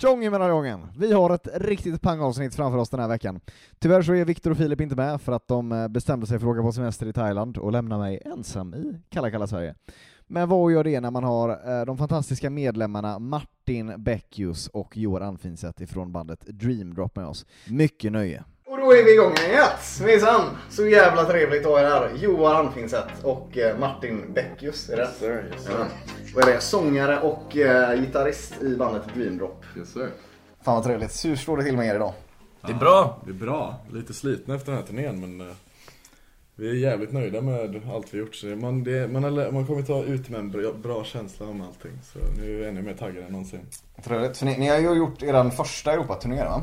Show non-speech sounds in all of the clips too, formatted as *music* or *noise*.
Tjong i mellandagen! Vi har ett riktigt pangavsnitt framför oss den här veckan. Tyvärr så är Viktor och Filip inte med för att de eh, bestämde sig för att åka på semester i Thailand och lämna mig ensam i kalla kalla Sverige. Men vad gör det när man har eh, de fantastiska medlemmarna Martin Beckius och Johan Anfinset ifrån bandet Dream Drop med oss. Mycket nöje! Och då är vi igång igen. Yes, minsann! Så jävla trevligt att ha er här. Johan Anfinseth och eh, Martin Beckius. Är det rätt? Ja. Och är det sångare och eh, gitarrist i bandet Dream Drop. Yes sir. Fan vad trevligt. Hur står det till med er idag? Det är bra. Det är bra. Lite slitna efter den här turnén men eh, vi är jävligt nöjda med allt vi gjort. Så man, det, man, har, lä- man kommer ta ut med en bra, bra känsla om allting. Så nu är jag ännu mer taggad än någonsin. Trevligt. För ni, ni har ju gjort er första Europaturné va?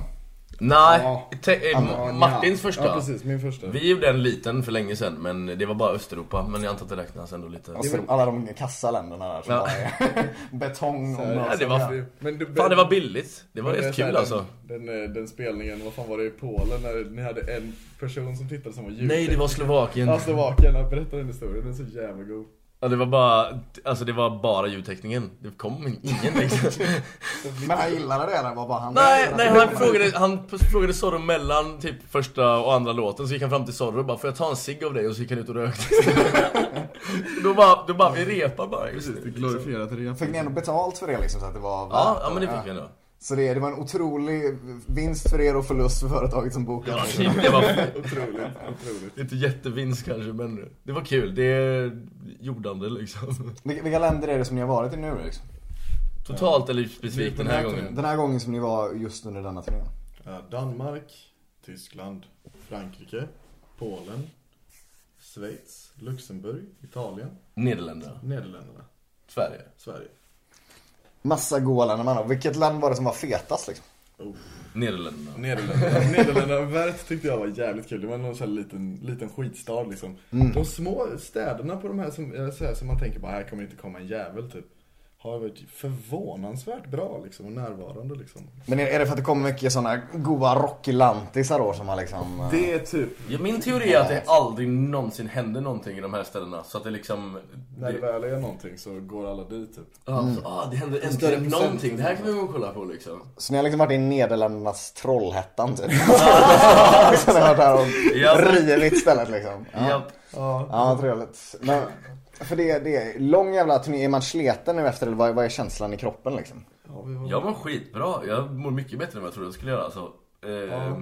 Nej, Ja. te- eh, Ja, Martins ja. första. Ja precis, min första. Vi gjorde en liten för länge sedan, men det var bara Östeuropa. Men jag antar att det räknas ändå lite. Alltså, alla de kassa länderna där som Ja. bara är *laughs* betong och Ja, det var, Men du- fan det var billigt. Det var Men rätt så här, kul alltså. Den, den, eh, den spelningen, vad fan var det i Polen när ni hade en person som tittade som var ljud? Nej, det var Slovakien. Ja, Slovakien. Ja, Berätta den historien, den är så jävla god. Ja, det var bara, alltså det var bara ljudtekningen. Det kom ingen text. Men han gillade det eller var bara han? *laughs* nej, nej, han frågade, han frågade Zorro mellan typ första och andra låten. Så gick han fram till Zorro och bara, får jag ta en cigg av dig? Och så gick han ut och rökte. *laughs* då bara, då bara, vi repar bara. Just Precis, nu, det liksom. glorifierat rep. Fick ni ändå betalt för det liksom så att det var Ja, ja, men det fick vi ändå. Så det, det var en otrolig vinst för er och förlust för företaget som bokade. Ja, typ, det var Otroligt, otroligt. Inte jättevinst kanske men det var kul, det är jordande liksom Vilka, vilka länder är det som ni har varit i nu liksom? Totalt eller specifikt den här gången Den här gången som ni var just under denna turnén. Ja, Eh, Danmark, Tyskland, Frankrike, Polen, Schweiz, Luxemburg, Italien, Nederländerna, Nederländerna, Sverige Sverige. Massa goa länder man har. Vilket land var det som var fetast liksom? Nederländerna Nederländerna, Nederländerna Värt tyckte jag var jävligt kul. Det var någon sån här liten, liten skitstad liksom. De små städerna på de här som, eh, så här, som man tänker bara här kommer inte komma en jävel typ. Har varit förvånansvärt bra liksom och närvarande liksom. Men är, är det för att det kommer mycket sådana goa rockilantisar då som har liksom... eh, Det är typ ja, Min teori är att det aldrig någonsin händer någonting i de här ställena så att det liksom när det det, väl är någonting så går alla dit typ. ja, så, ah, det händer större äntligen procent. någonting, det här kan vi gå och kolla på liksom Så ni har liksom varit i Nederländernas Trollhättan *laughs* typ? *laughs* Så ni har varit där Ja. och rivit stället liksom? Japp. Ja, trevligt. Men, för det, det är lång jävla turné. Är man sleten nu efter eller vad, vad är känslan i kroppen liksom? Jag mår skitbra, jag mår mycket bättre än vad jag trodde jag skulle göra alltså. eh,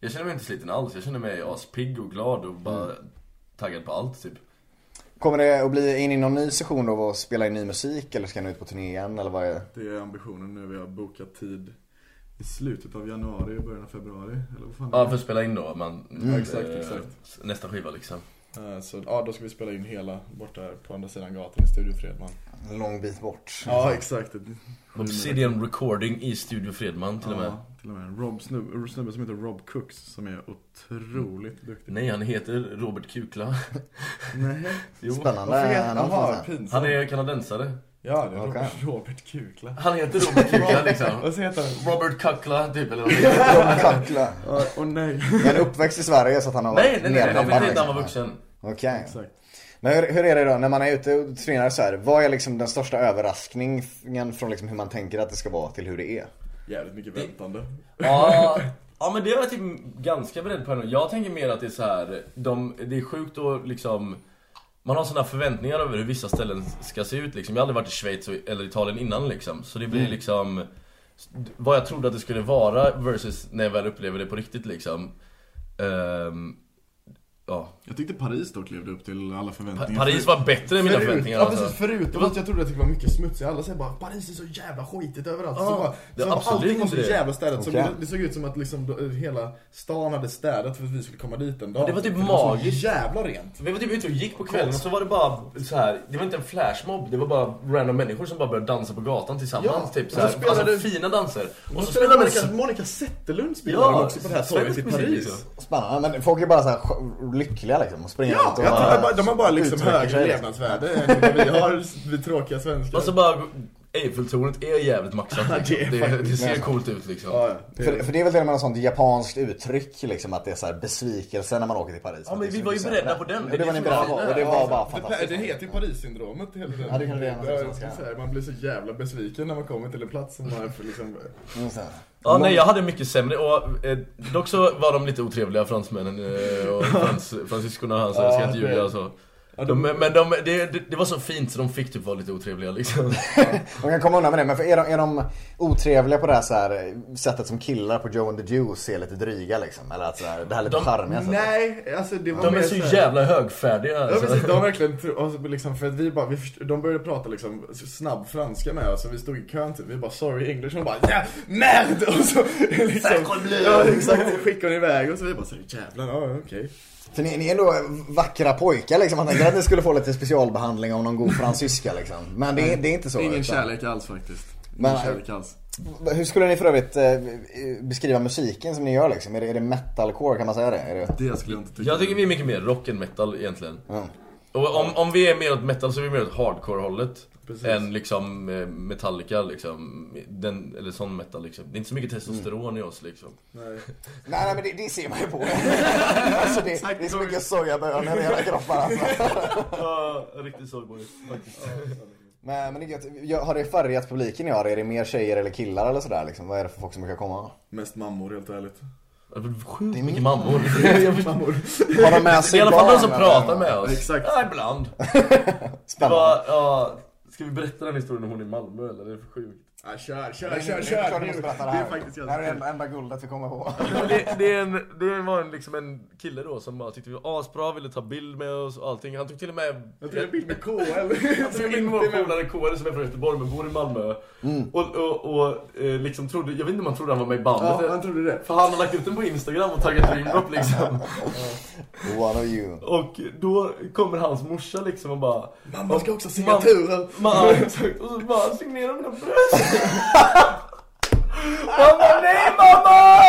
Jag känner mig inte sliten alls, jag känner mig aspigg och glad och bara taggad på allt typ Kommer det att bli in i någon ny session då och spela in ny musik eller ska ni ut på turné igen eller vad är det? Det är ambitionen nu. Vi har bokat tid i slutet av januari och början av februari. Eller vad fan det Ja, är. för att spela in då. Man, exakt, eh, exakt. Nästa skiva liksom. Eh, Så ja, då ska vi spela in hela borta här på andra sidan gatan i Studio Fredman. En lång bit bort. Ja, exakt. Obsidian Recording i Studio Fredman till och med. Ja, till och med. Rob snubbe, en snubbe som heter Rob Cooks som är otroligt duktig. Mm. Nej, han heter Robert Kukla. *laughs* Nej. Jo. Spännande. Varför heter Han har fått Jaha, det. pinsamt. Han är kanadensare. Ja, det är Okej. Robert, Robert Kukla. Han heter Robert Kukla liksom. Vad heter han? Robert Kuckla *laughs* typ eller någonting. Robert Kackla. Åh *laughs* nej. Men uppväxt i Sverige så att han har Nej, nej, nej, nej, nej, nerdampad, nej, inte han var liksom. vuxen. Okej. Exakt. Men hur, hur är det då när man är ute och tränar så här? Vad är liksom den största överraskningen från liksom hur man tänker att det ska vara till hur det är? Jävligt mycket väntande. Ja, *laughs* ja men det var jag typ ganska beredd på ändå. Jag tänker mer att det är så här, de, det är sjukt att liksom man har sådana förväntningar över hur vissa ställen ska se ut liksom. Jag har aldrig varit i Schweiz och- eller Italien innan liksom. Så det blir Mm. liksom vad jag trodde att det skulle vara versus när jag väl upplever det på riktigt liksom. Ehm, ja. Jag tyckte Paris dock levde upp till alla Pa- förväntningar. Paris var bättre än mina Förut, förväntningar ja alltså. precis, förutom att jag trodde att det var mycket smutsigt. Alla säger bara Paris är så jävla skitigt överallt. så Ja, bara, det är så bara, absolut allting var så inte det. jävla städat. Så Okej. det, det såg ut som att liksom, då, hela stan hade städat för att vi skulle komma dit en dag. det var typ Det var magiskt. så jävla rent. Vi var typ ute och gick på kvällen och så var det bara så här. det var inte en flashmob, det var bara random människor som bara började dansa på gatan tillsammans Ja, typ och så så här. spelade- Alltså fina danser. Och Och så så spelade spelade Monica, man... Monica Zetterlund spelade Ja, också på det här svensk torget i musik, Paris. liksom. Spännande, men folk är bara så här sk- lyckliga liksom och springer Ja, runt och jag tror att de har bara liksom uttrycker sig, högre liksom. levnadsvärde än vad vi har, vi tråkiga svenskar. Alltså bara Eiffeltornet är jävligt maxat liksom. det är det, det, faktiskt ser coolt ut liksom. ja, ja, det är- För, för det är väl till och med något sånt japanskt uttryck liksom att det är så här besvikelse när man åker till Paris. Ja, men Att det är vi så var ju mycket beredda så här- på den. Ja, det var ni beredda på och det var bara Det, det fantastiskt. heter ju Paris-syndromet hela tiden. Ja, det kan det gärna säga på så svenska. här, Man blir så jävla besviken när man kommer till en plats som man är för liksom... Mm, så här. Ja nej jag hade mycket sämre och eh, dock så var de lite otrevliga fransmännen eh, och frans, fransyskorna och han så jag ska Ja, inte det- ljuga så. De, men de, det, det, det var så fint så de fick typ vara lite otrevliga liksom. De kan komma undan med det, men för är, de, är de otrevliga på det här, så här eh, sättet som killar på Joe and the Juice är lite dryga liksom? Eller att så här, det här lite charmiga sättet? Nej, alltså det var De mer är så här- jävla högfärdiga Ja alltså. precis, de verkligen tro- och så liksom, för att vi bara, vi först- de började prata liksom snabb franska med oss och vi stod i kön typ, vi bara 'sorry English' och de bara 'ja, merde' *laughs* och så liksom, ja, exakt, skickade de iväg och så vi bara så jävlar, ja okej. För ni, ni är ändå vackra pojkar liksom. Man tänker att ni skulle få lite specialbehandling av någon god fransyska liksom. Men det, är- det är inte så. Ingen utan- kärlek alls faktiskt. Ingen Men- kärlek alls. Hur skulle ni för övrigt eh, beskriva musiken som ni gör liksom? Är det, är det metalcore, kan man säga det? Är det... Det skulle jag inte tycka. Jag tycker vi är mycket mer rock än metal egentligen. Ja. Och om, om vi är mer åt metal så är vi mer åt hardcore-hållet. Precis. Än liksom eh, Metallica liksom. Den, eller sån metal liksom. Det är inte så mycket testosteron i oss liksom. Nej, nej men det, det ser man ju på alltså, det, det är så mycket sojabönor i era kroppar alltså. Ja, riktigt sorgboy faktiskt. Men, men det är gött. Jag- Har det färgat publiken i år? Är det mer tjejer eller killar eller sådär liksom? Vad är det för folk som brukar komma? Mest mammor helt *laughs* ärligt. Sjukt mycket mammor. mammor. Har de med Det sig är I alla fall de barn, som eller? pratar med oss. Exakt. Ja, ibland. Det Spännande. var, ja, ska vi berätta den historien om hon i Malmö eller? Det är för sjukt. Ja, kör, Det kör, är- kör, det är klart kör! du måste berätta det Det här. är faktiskt Det här är ganska det enda- enda guldet vi kommer på. Men det, det, är en, det var en, liksom en kille då som bara tyckte vi var asbra, ville ta bild med oss och allting. Han tog till och med... Jag tog en Alltså, bild med KL. Jag tog in vår polare KR som är från Göteborg men bor i Malmö. Mm. Och, och, och eh, liksom trodde, jag vet inte om han trodde han var med i bandet. Ja, han trodde det. För han har lagt ut den på Instagram och taggat Dreamdrop liksom. One of you. Och då kommer hans morsa liksom och bara Mamma ska också ha Mam- signaturen. Mamma, exakt. Och så bara signera mina bröst. *laughs* Han bara nej mamma!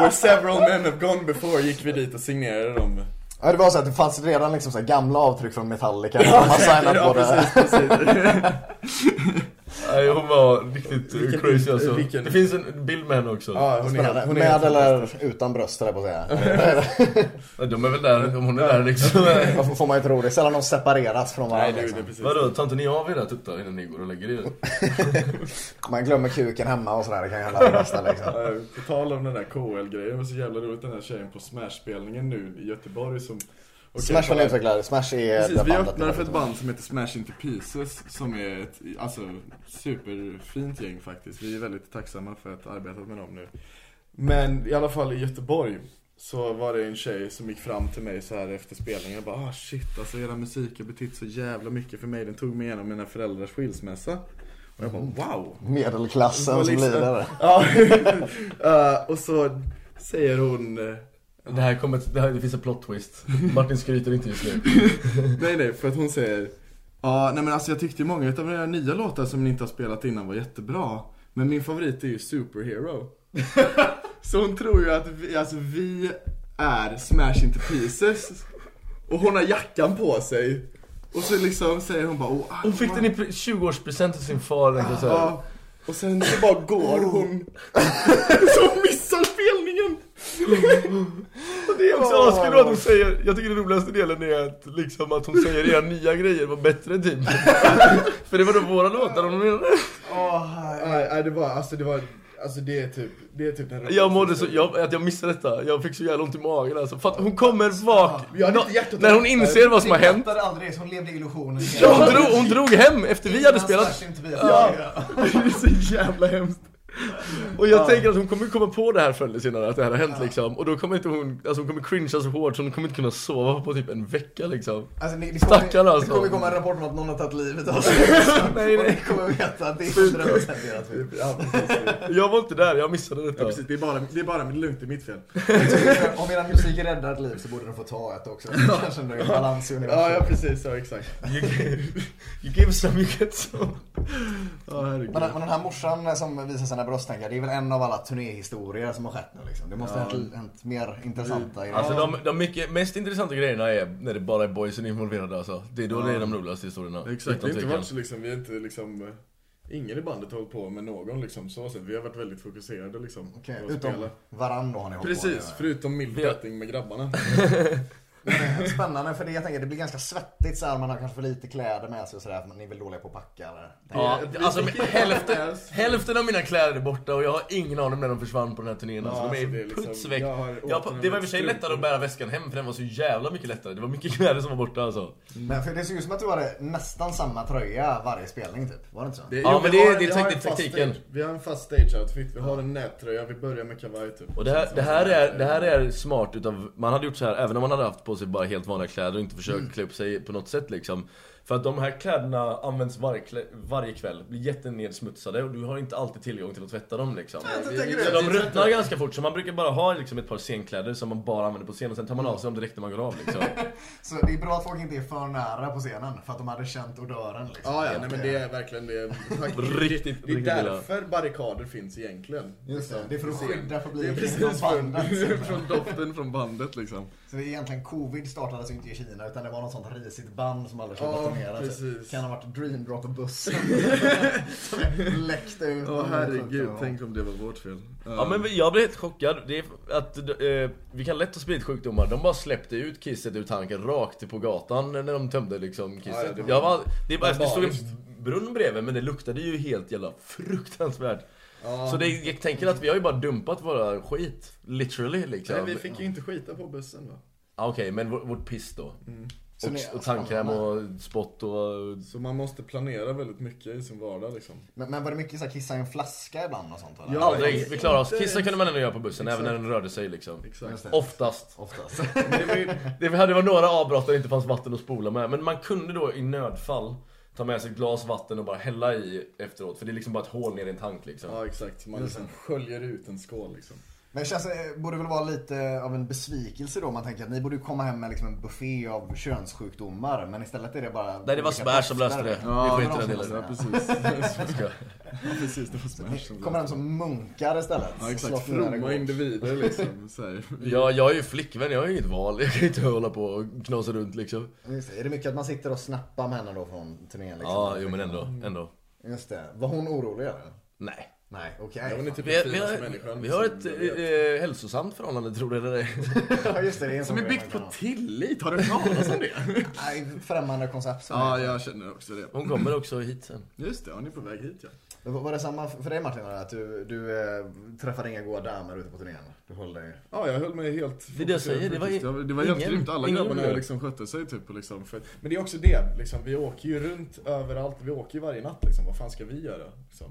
Where several men have gone before gick vi dit och signerade dem. Ja, det var så att det fanns redan liksom så här gamla avtryck från Metallica. De har signat på det. precis, precis. *laughs* Nej hon var riktigt eh, Vilken- crazy alltså. vilken- Det finns en bild med henne också. Ja, hon är helt, Spännande. hon är helt Med eller utan bröst höll jag på att säga. De är väl där, om hon är *laughs* där liksom. Varför får man ju tro det? Sällan de separeras från Nej, varandra. det Liksom. gjorde precis. Vadå, tar inte ni av era tuttar innan ni går och lägger *laughs* er? Man glömmer kuken hemma och sådär. Det kan ju hända det bästa liksom. Eh, På tal om den där KL-grejen, det var så jävla roligt den här tjejen på Smash-spelningen nu i Göteborg som... Okej, Smash var kolla. en utvecklare. Smash är Precis, det vi bandet. öppnade för ett band som heter Smash Into Pieces som är ett alltså, superfint gäng faktiskt. Vi är väldigt tacksamma för att ha arbetat med dem nu. Men i alla fall i Göteborg så var det en tjej som gick fram till mig så här efter spelningen och bara ah shit alltså era musik har betytt så jävla mycket för mig. Den tog mig igenom mina föräldrars skilsmässa. Och jag bara wow! Medelklassen Mm. som lider. Ja, *laughs* Eh, och så säger hon eh, Det här kommer, det, här, det finns en plot twist. Martin skryter inte just nu. *laughs* Nej nej, för att hon säger Ja, nej men alltså jag tyckte ju många utav era nya låtar som ni inte har spelat innan var jättebra Men min favorit är ju Superhero *laughs* Så hon tror ju att vi, alltså vi är Smash Into Pieces Och hon har jackan på sig Och så liksom säger hon bara oh, ah, Hon fick fan. den i pre- 20-årspresent av sin far. den kan jag säga. Ja. Och sen så bara går Oh. hon. *laughs* så missar spelningen. Och det är också askul att hon säger, jag tycker den roligaste delen är att, liksom, att hon säger era nya grejer var bättre än din. *laughs* För det var då våra låtar hon menade. Nej, nej, det var, alltså det var, alltså det är typ, det är typ den roligaste Jag mådde så, historien. jag, att jag missade detta, jag fick så jävla ont i magen alltså. För att hon kommer bak, Jag hade inte hjärtat när hon inser vad som har hänt. fattade aldrig det, så hon levde i illusionen. Ja, hon, drog, hon drog hem efter vi hade spelat. *laughs* Ja. Det är så jävla hemskt. Och jag tänker att hon kommer komma på det här förr eller senare, att det här har hänt liksom. Och då kommer inte hon, alltså hon kommer cringea så hårt så hon kommer inte kunna sova på typ en *laughs* vecka liksom. Alltså, ni, ni Stackarn kommer, alltså. Det kommer komma en rapport om att någon har tagit livet av sig. *laughs* nej, Och ni kommer veta att det är 100% deras fel. Ja, precis. Jag var inte där, jag missade detta. Ja, precis. Det är bara, det är bara lugnt, det är mitt fel. Om eran musik räddar ett liv så borde den få ta ett också. Det kanske ändå är balans i Ja, ja universum. precis, ja exakt. You give, you give some, you get some. Ja, herregud. Men, men den här morsan som visar sina brösttänkar, det är väl en av alla turnéhistorier som har skett nu liksom. Det måste ha hänt, hänt mer intressanta Mm. grejer. Alltså de, de mycket, mest intressanta grejerna är när det bara är boysen involverade alltså. Det är då det är de roligaste historierna. Exakt, det utan har inte tvekan. varit så liksom, vi har inte liksom eh, Ingen i bandet har hållit på med någon liksom så sett. Vi har varit väldigt fokuserade liksom. Okej, på att utom spela. varann då har ni hållit på Precis, med. förutom Vi har- milfetting med *laughs* grabbarna. Spännande för det jag tänker, det blir ganska svettigt så här, man har kanske för lite kläder med sig och sådär för man är väl dåliga på att packa eller? Mm. Ja, Det är- alltså det är- hälften, hälften av mina kläder är borta och jag har ingen aning om när de försvann på den här turnén. Alltså, de är, alltså, det är liksom- puts väck. jag har Jag, återanvänt det var i och för sig strumpor. lättare att bära väskan hem för den var så jävla mycket lättare. Det var mycket kläder som var borta alltså. Men för det ser ut som att du hade nästan samma tröja varje spelning typ, var det inte så? Ja, jo, men vi det är- har- det är vi har taktik- en fast taktiken. stage- Vi har en fast stage-outfit, vi har en nättröja, vi börjar med kavaj typ. Och det här, det här, är, det här är smart utav, man hade gjort så här även om man hade haft på sig bara helt vanliga kläder och inte försökt klä upp sig på något sätt liksom. För att de här kläderna används varje, klä, varje kväll, blir jättenedsmutsade och du har inte alltid tillgång till att tvätta dem liksom. Så de ruttnar ganska fort så man brukar bara ha liksom ett par scenkläder som man bara använder på scen och sen tar man av sig dem direkt när man går av liksom. Så det är bra att folk inte är för nära på scenen för att de hade känt odören liksom. Ja, ja, nej, men det är verkligen *laughs* det. är- Riktigt, det är riktigt därför barrikader finns egentligen. Liksom, Just det, det är för att skydda Det är publiken från precis från, bandet. *laughs* från doften från bandet liksom. Så det är egentligen covid startades ju inte i Kina utan det var något sånt risigt band som aldrig skulle Ja, turnera. precis. Kan ha varit Dream Drop och *laughs* bussen. som läckte ut. Åh herregud, tänk om det var vårt fel. Ja men vi- jag blev helt chockad. Det är att eh, vi kan lätt ha spridit sjukdomar. De bara släppte ut kisset ur tanken rakt på gatan när de tömde liksom kisset. Ja, ja, det var- jag var, det, var, det stod en barbariskt. brunn bredvid men det luktade ju helt jävla fruktansvärt. Så det, jag tänker att vi har ju bara dumpat våra skit. Literally liksom. Nej, vi fick ju inte skita på bussen va? ah, Okej, men vår- vårt piss då. Mm. Så ni- Och, och tandkräm och spott och... Så man måste planera väldigt mycket i sin vardag liksom. Men, men var det mycket så här kissa i en flaska ibland och sånt eller? Ja. Aldrig, vi klarar oss. Kissa kunde man ändå göra på bussen även när den rörde sig liksom. Exakt. Oftast. Oftast. *laughs* Det var, ju- det var det var några avbrott där det inte fanns vatten att spola med. Men man kunde då i nödfall ta med sig ett glas vatten och bara hälla i efteråt. För det är liksom bara ett hål ner i en tank liksom. Ja exakt, man liksom sköljer ut en skål *laughs* liksom. Men det känns, det borde väl vara lite av en besvikelse då om man tänker att ni borde ju komma hem med liksom en buffé av könssjukdomar men istället är det bara... Nej det var Smash som löste det. Vi skiter i den Ja delen. precis. precis, det var smash som liksom. Kommer hem som munkar istället. Ja Slåss exakt, ner i fromma gård. individer *laughs* liksom. Så här. Ja, jag är ju flickvän, jag har ju inget val. Jag kan ju inte hålla på och knasa runt liksom. Just det. Är det mycket att man sitter och snappar med henne då från turnén? Liksom? Ja, jo men ändå. ändå. Just det. Var hon orolig eller? Nej. Nej, okej. Ja, hon är typ Vi, den vi, finaste har, människan. vi har som ett jag vet. eh, hälsosamt förhållande tror du eller ej. Ja, just det. det är en Som sån är grej byggt man på kan tillit, har du hört talas *laughs* om det? ha. Nej, främmande koncept. som Ja, är- jag känner också det. Hon kommer också hit sen. Just det, hon är på väg hit ja. Var var det samma för dig Martin? Att du, du eh, träffade inga goa damer ute på turnén? Du höll dig... Ja, jag höll mig helt är det jag säger, det var faktiskt. ju- det var helt ingen- grymt. Alla ingen grabbarna gjorde det. liksom skötte sig typ. och Liksom, för, men det är också det, liksom, vi åker ju runt överallt. Vi åker ju varje natt liksom. Vad fan ska vi göra? Liksom?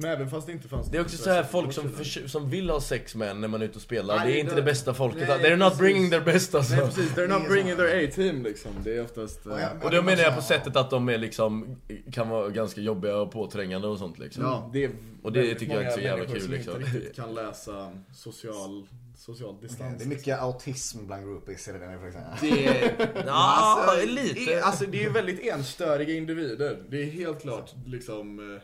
Men även fast det inte fanns... Det är också så här folk som, förs- som vill ha sex med en när man är ute och spelar. det är inte det bästa folket. Nej, They're not precis. bringing their best alltså. Nej precis, they're Det not är bringing their A-team liksom. Det är oftast... eh, ja, Och då menar jag på sättet att de är liksom, kan vara ganska jobbiga och påträngande och sånt liksom. Ja, det är Och det väldigt tycker jag inte är så många jävla människor kul, som liksom. inte *laughs* riktigt kan läsa social, social distans. Det är mycket autism bland groupies, är det det ni försöker säga? Det är, Ja, alltså- det är- alltså det är ju väldigt enstöriga individer. Det är helt klart liksom... eh,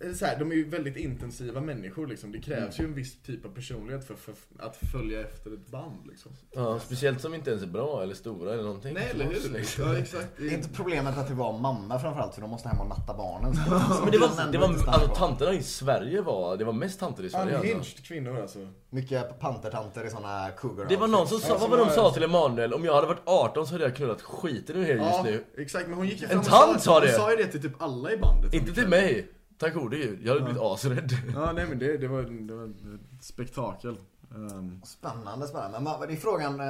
eller så här, de är ju väldigt intensiva människor liksom. Det krävs ju en viss typ av personlighet för, för att följa efter ett band liksom. Ja, speciellt som inte ens är bra eller stora eller någonting. Nej, eller hur? Liksom. Ja, exakt. Det är inte problemet att det var mamma framförallt för de måste hem och natta barnen. Men det var, det var, alltså tanterna i Sverige var, det var mest tanter i Sverige alltså. Unhinged kvinnor alltså. Mycket pantertanter i såna cougar Det var någon som sa, vad var det de sa till Emanuel? Om jag hade varit 18 så hade jag knullat skiten ur er just Ja, nu. exakt. Men hon gick ju En fram och tant sa det. Hon sa ju det till typ alla i bandet. Inte till mig. Tack gode gud, jag hade blivit asrädd. Ja, nej men det, det, var, det var ett spektakel. Ehm, Spännande, spännande. Men vad- det är frågan, eh,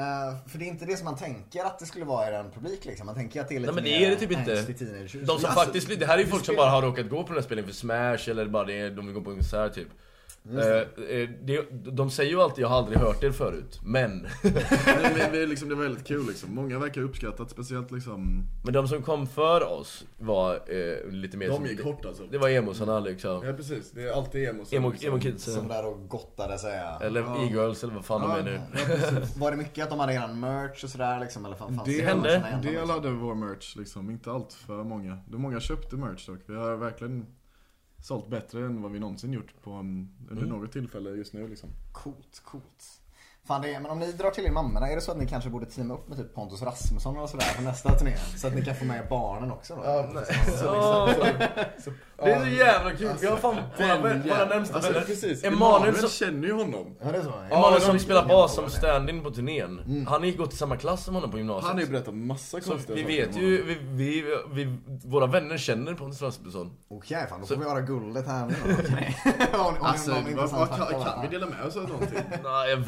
för det är inte det som man tänker att det skulle vara i den publik liksom. Man tänker att det är lite Nej men det mer är det typ inte. angstig teenagers. De som Alltså, faktiskt, det här är ju folk som det- bara har råkat gå på den här spelningen för smash eller bara det, är- de vill gå på en konsert typ. Eh, eh, det, de säger ju alltid jag har aldrig hört er förut, men. *laughs* nej, men det, är liksom, det var väldigt kul liksom. Många verkar uppskattat, speciellt liksom... men de som kom för oss var eh, lite mer De som- gick hårt, alltså. Det var emosarna liksom. Ja precis, det är alltid emo som- liksom- Emo, som- emo-kidsen. Som Alltså- där och gottade sig. Eh. ja. Eller e-girls eller vad fan de är nu. *laughs* Var det mycket att de hade eran merch och sådär liksom? Eller fan, fanns Det någon hände. sån här En ändå, del liksom? hade vår merch liksom, inte allt för många. Det många köpte merch dock. Vi har verkligen sålt bättre än vad vi någonsin gjort på, um, under något tillfälle just nu liksom. Coolt, coolt. Fan det är, men om ni drar till er mammorna, är det så att ni kanske borde teama upp med typ Pontus Rasmusson eller sådär för nästa turné? Så att ni kan få med barnen också då? Det är så jävla kul, vi har fan våra, våra närmsta Alltså vänner. precis, Emanuel Emanuel som- känner ju honom. Ja, det är så. Emanuel som spelar bas som stand-in på turnén. Han gick gått i samma klass som honom på gymnasiet. Mm. Han har ju berättat massa Så konstiga vi saker vet om ju, honom. vi, vi, vi, våra vänner känner Pontus Rasmusson. Okej fan, då får vi göra guldet här nu *laughs* då. Okej. *laughs* Har ni- har ni Alltså, någon vad, intressant vad, fakta kan, om kan det vi här? dela med oss av *laughs* någonting? Nej jag vet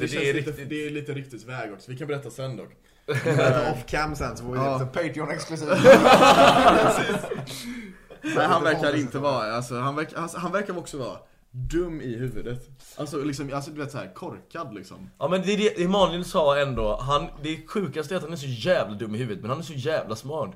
Alltså, Jag inte, menar, det, känns är lite, riktigt... det är lite ryktesväg också, vi kan berätta sen dock. Berätta off cam sen så får vi ja. Patreon *laughs* exklusivt. Nej han verkar inte vara, alltså, han, verkar, alltså, han verkar också vara dum i huvudet. Alltså, liksom, alltså du vet såhär korkad liksom. Ja men det är det Emanuel sa ändå, han, det sjukaste är att han är så jävla dum i huvudet men han är så jävla smart.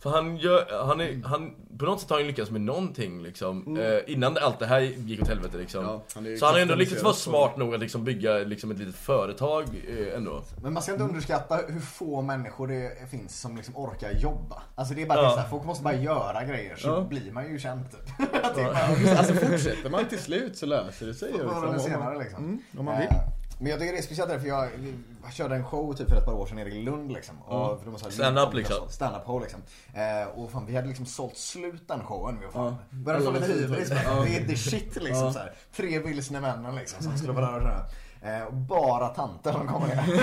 För han gör, han är, han, på något sätt har han lyckats med någonting liksom. Eh, innan det- allt det här gick åt helvete liksom. Mm. Ja, han är ju så han har ändå lyckats kapitaliserad vara på- smart nog att liksom bygga liksom, ett litet företag eh, ändå. Men man ska inte underskatta hur få människor det finns som liksom orkar jobba. Alltså det är bara det Ja. så här, folk måste bara göra grejer så blir man ju känd typ. *laughs* Det är bara- Alltså fortsätter man till slut så löser det sig ju. Förr eller liksom. Om man- senare liksom. Mm, om man vill. Eh, Men jag tycker det är speciellt därför jag, jag körde en show typ för ett par år sedan nere i Lund liksom. Och för de var så här- Stand-up, liksom. Stand-up show liksom. Eh, och fan vi hade liksom sålt slut den showen. Vi var fan. Började få lite hybris. men Det är the shit liksom. Så här. Tre vilsna männen liksom som skulle vara där och sådär. Eh, och bara tanter som kommer ner.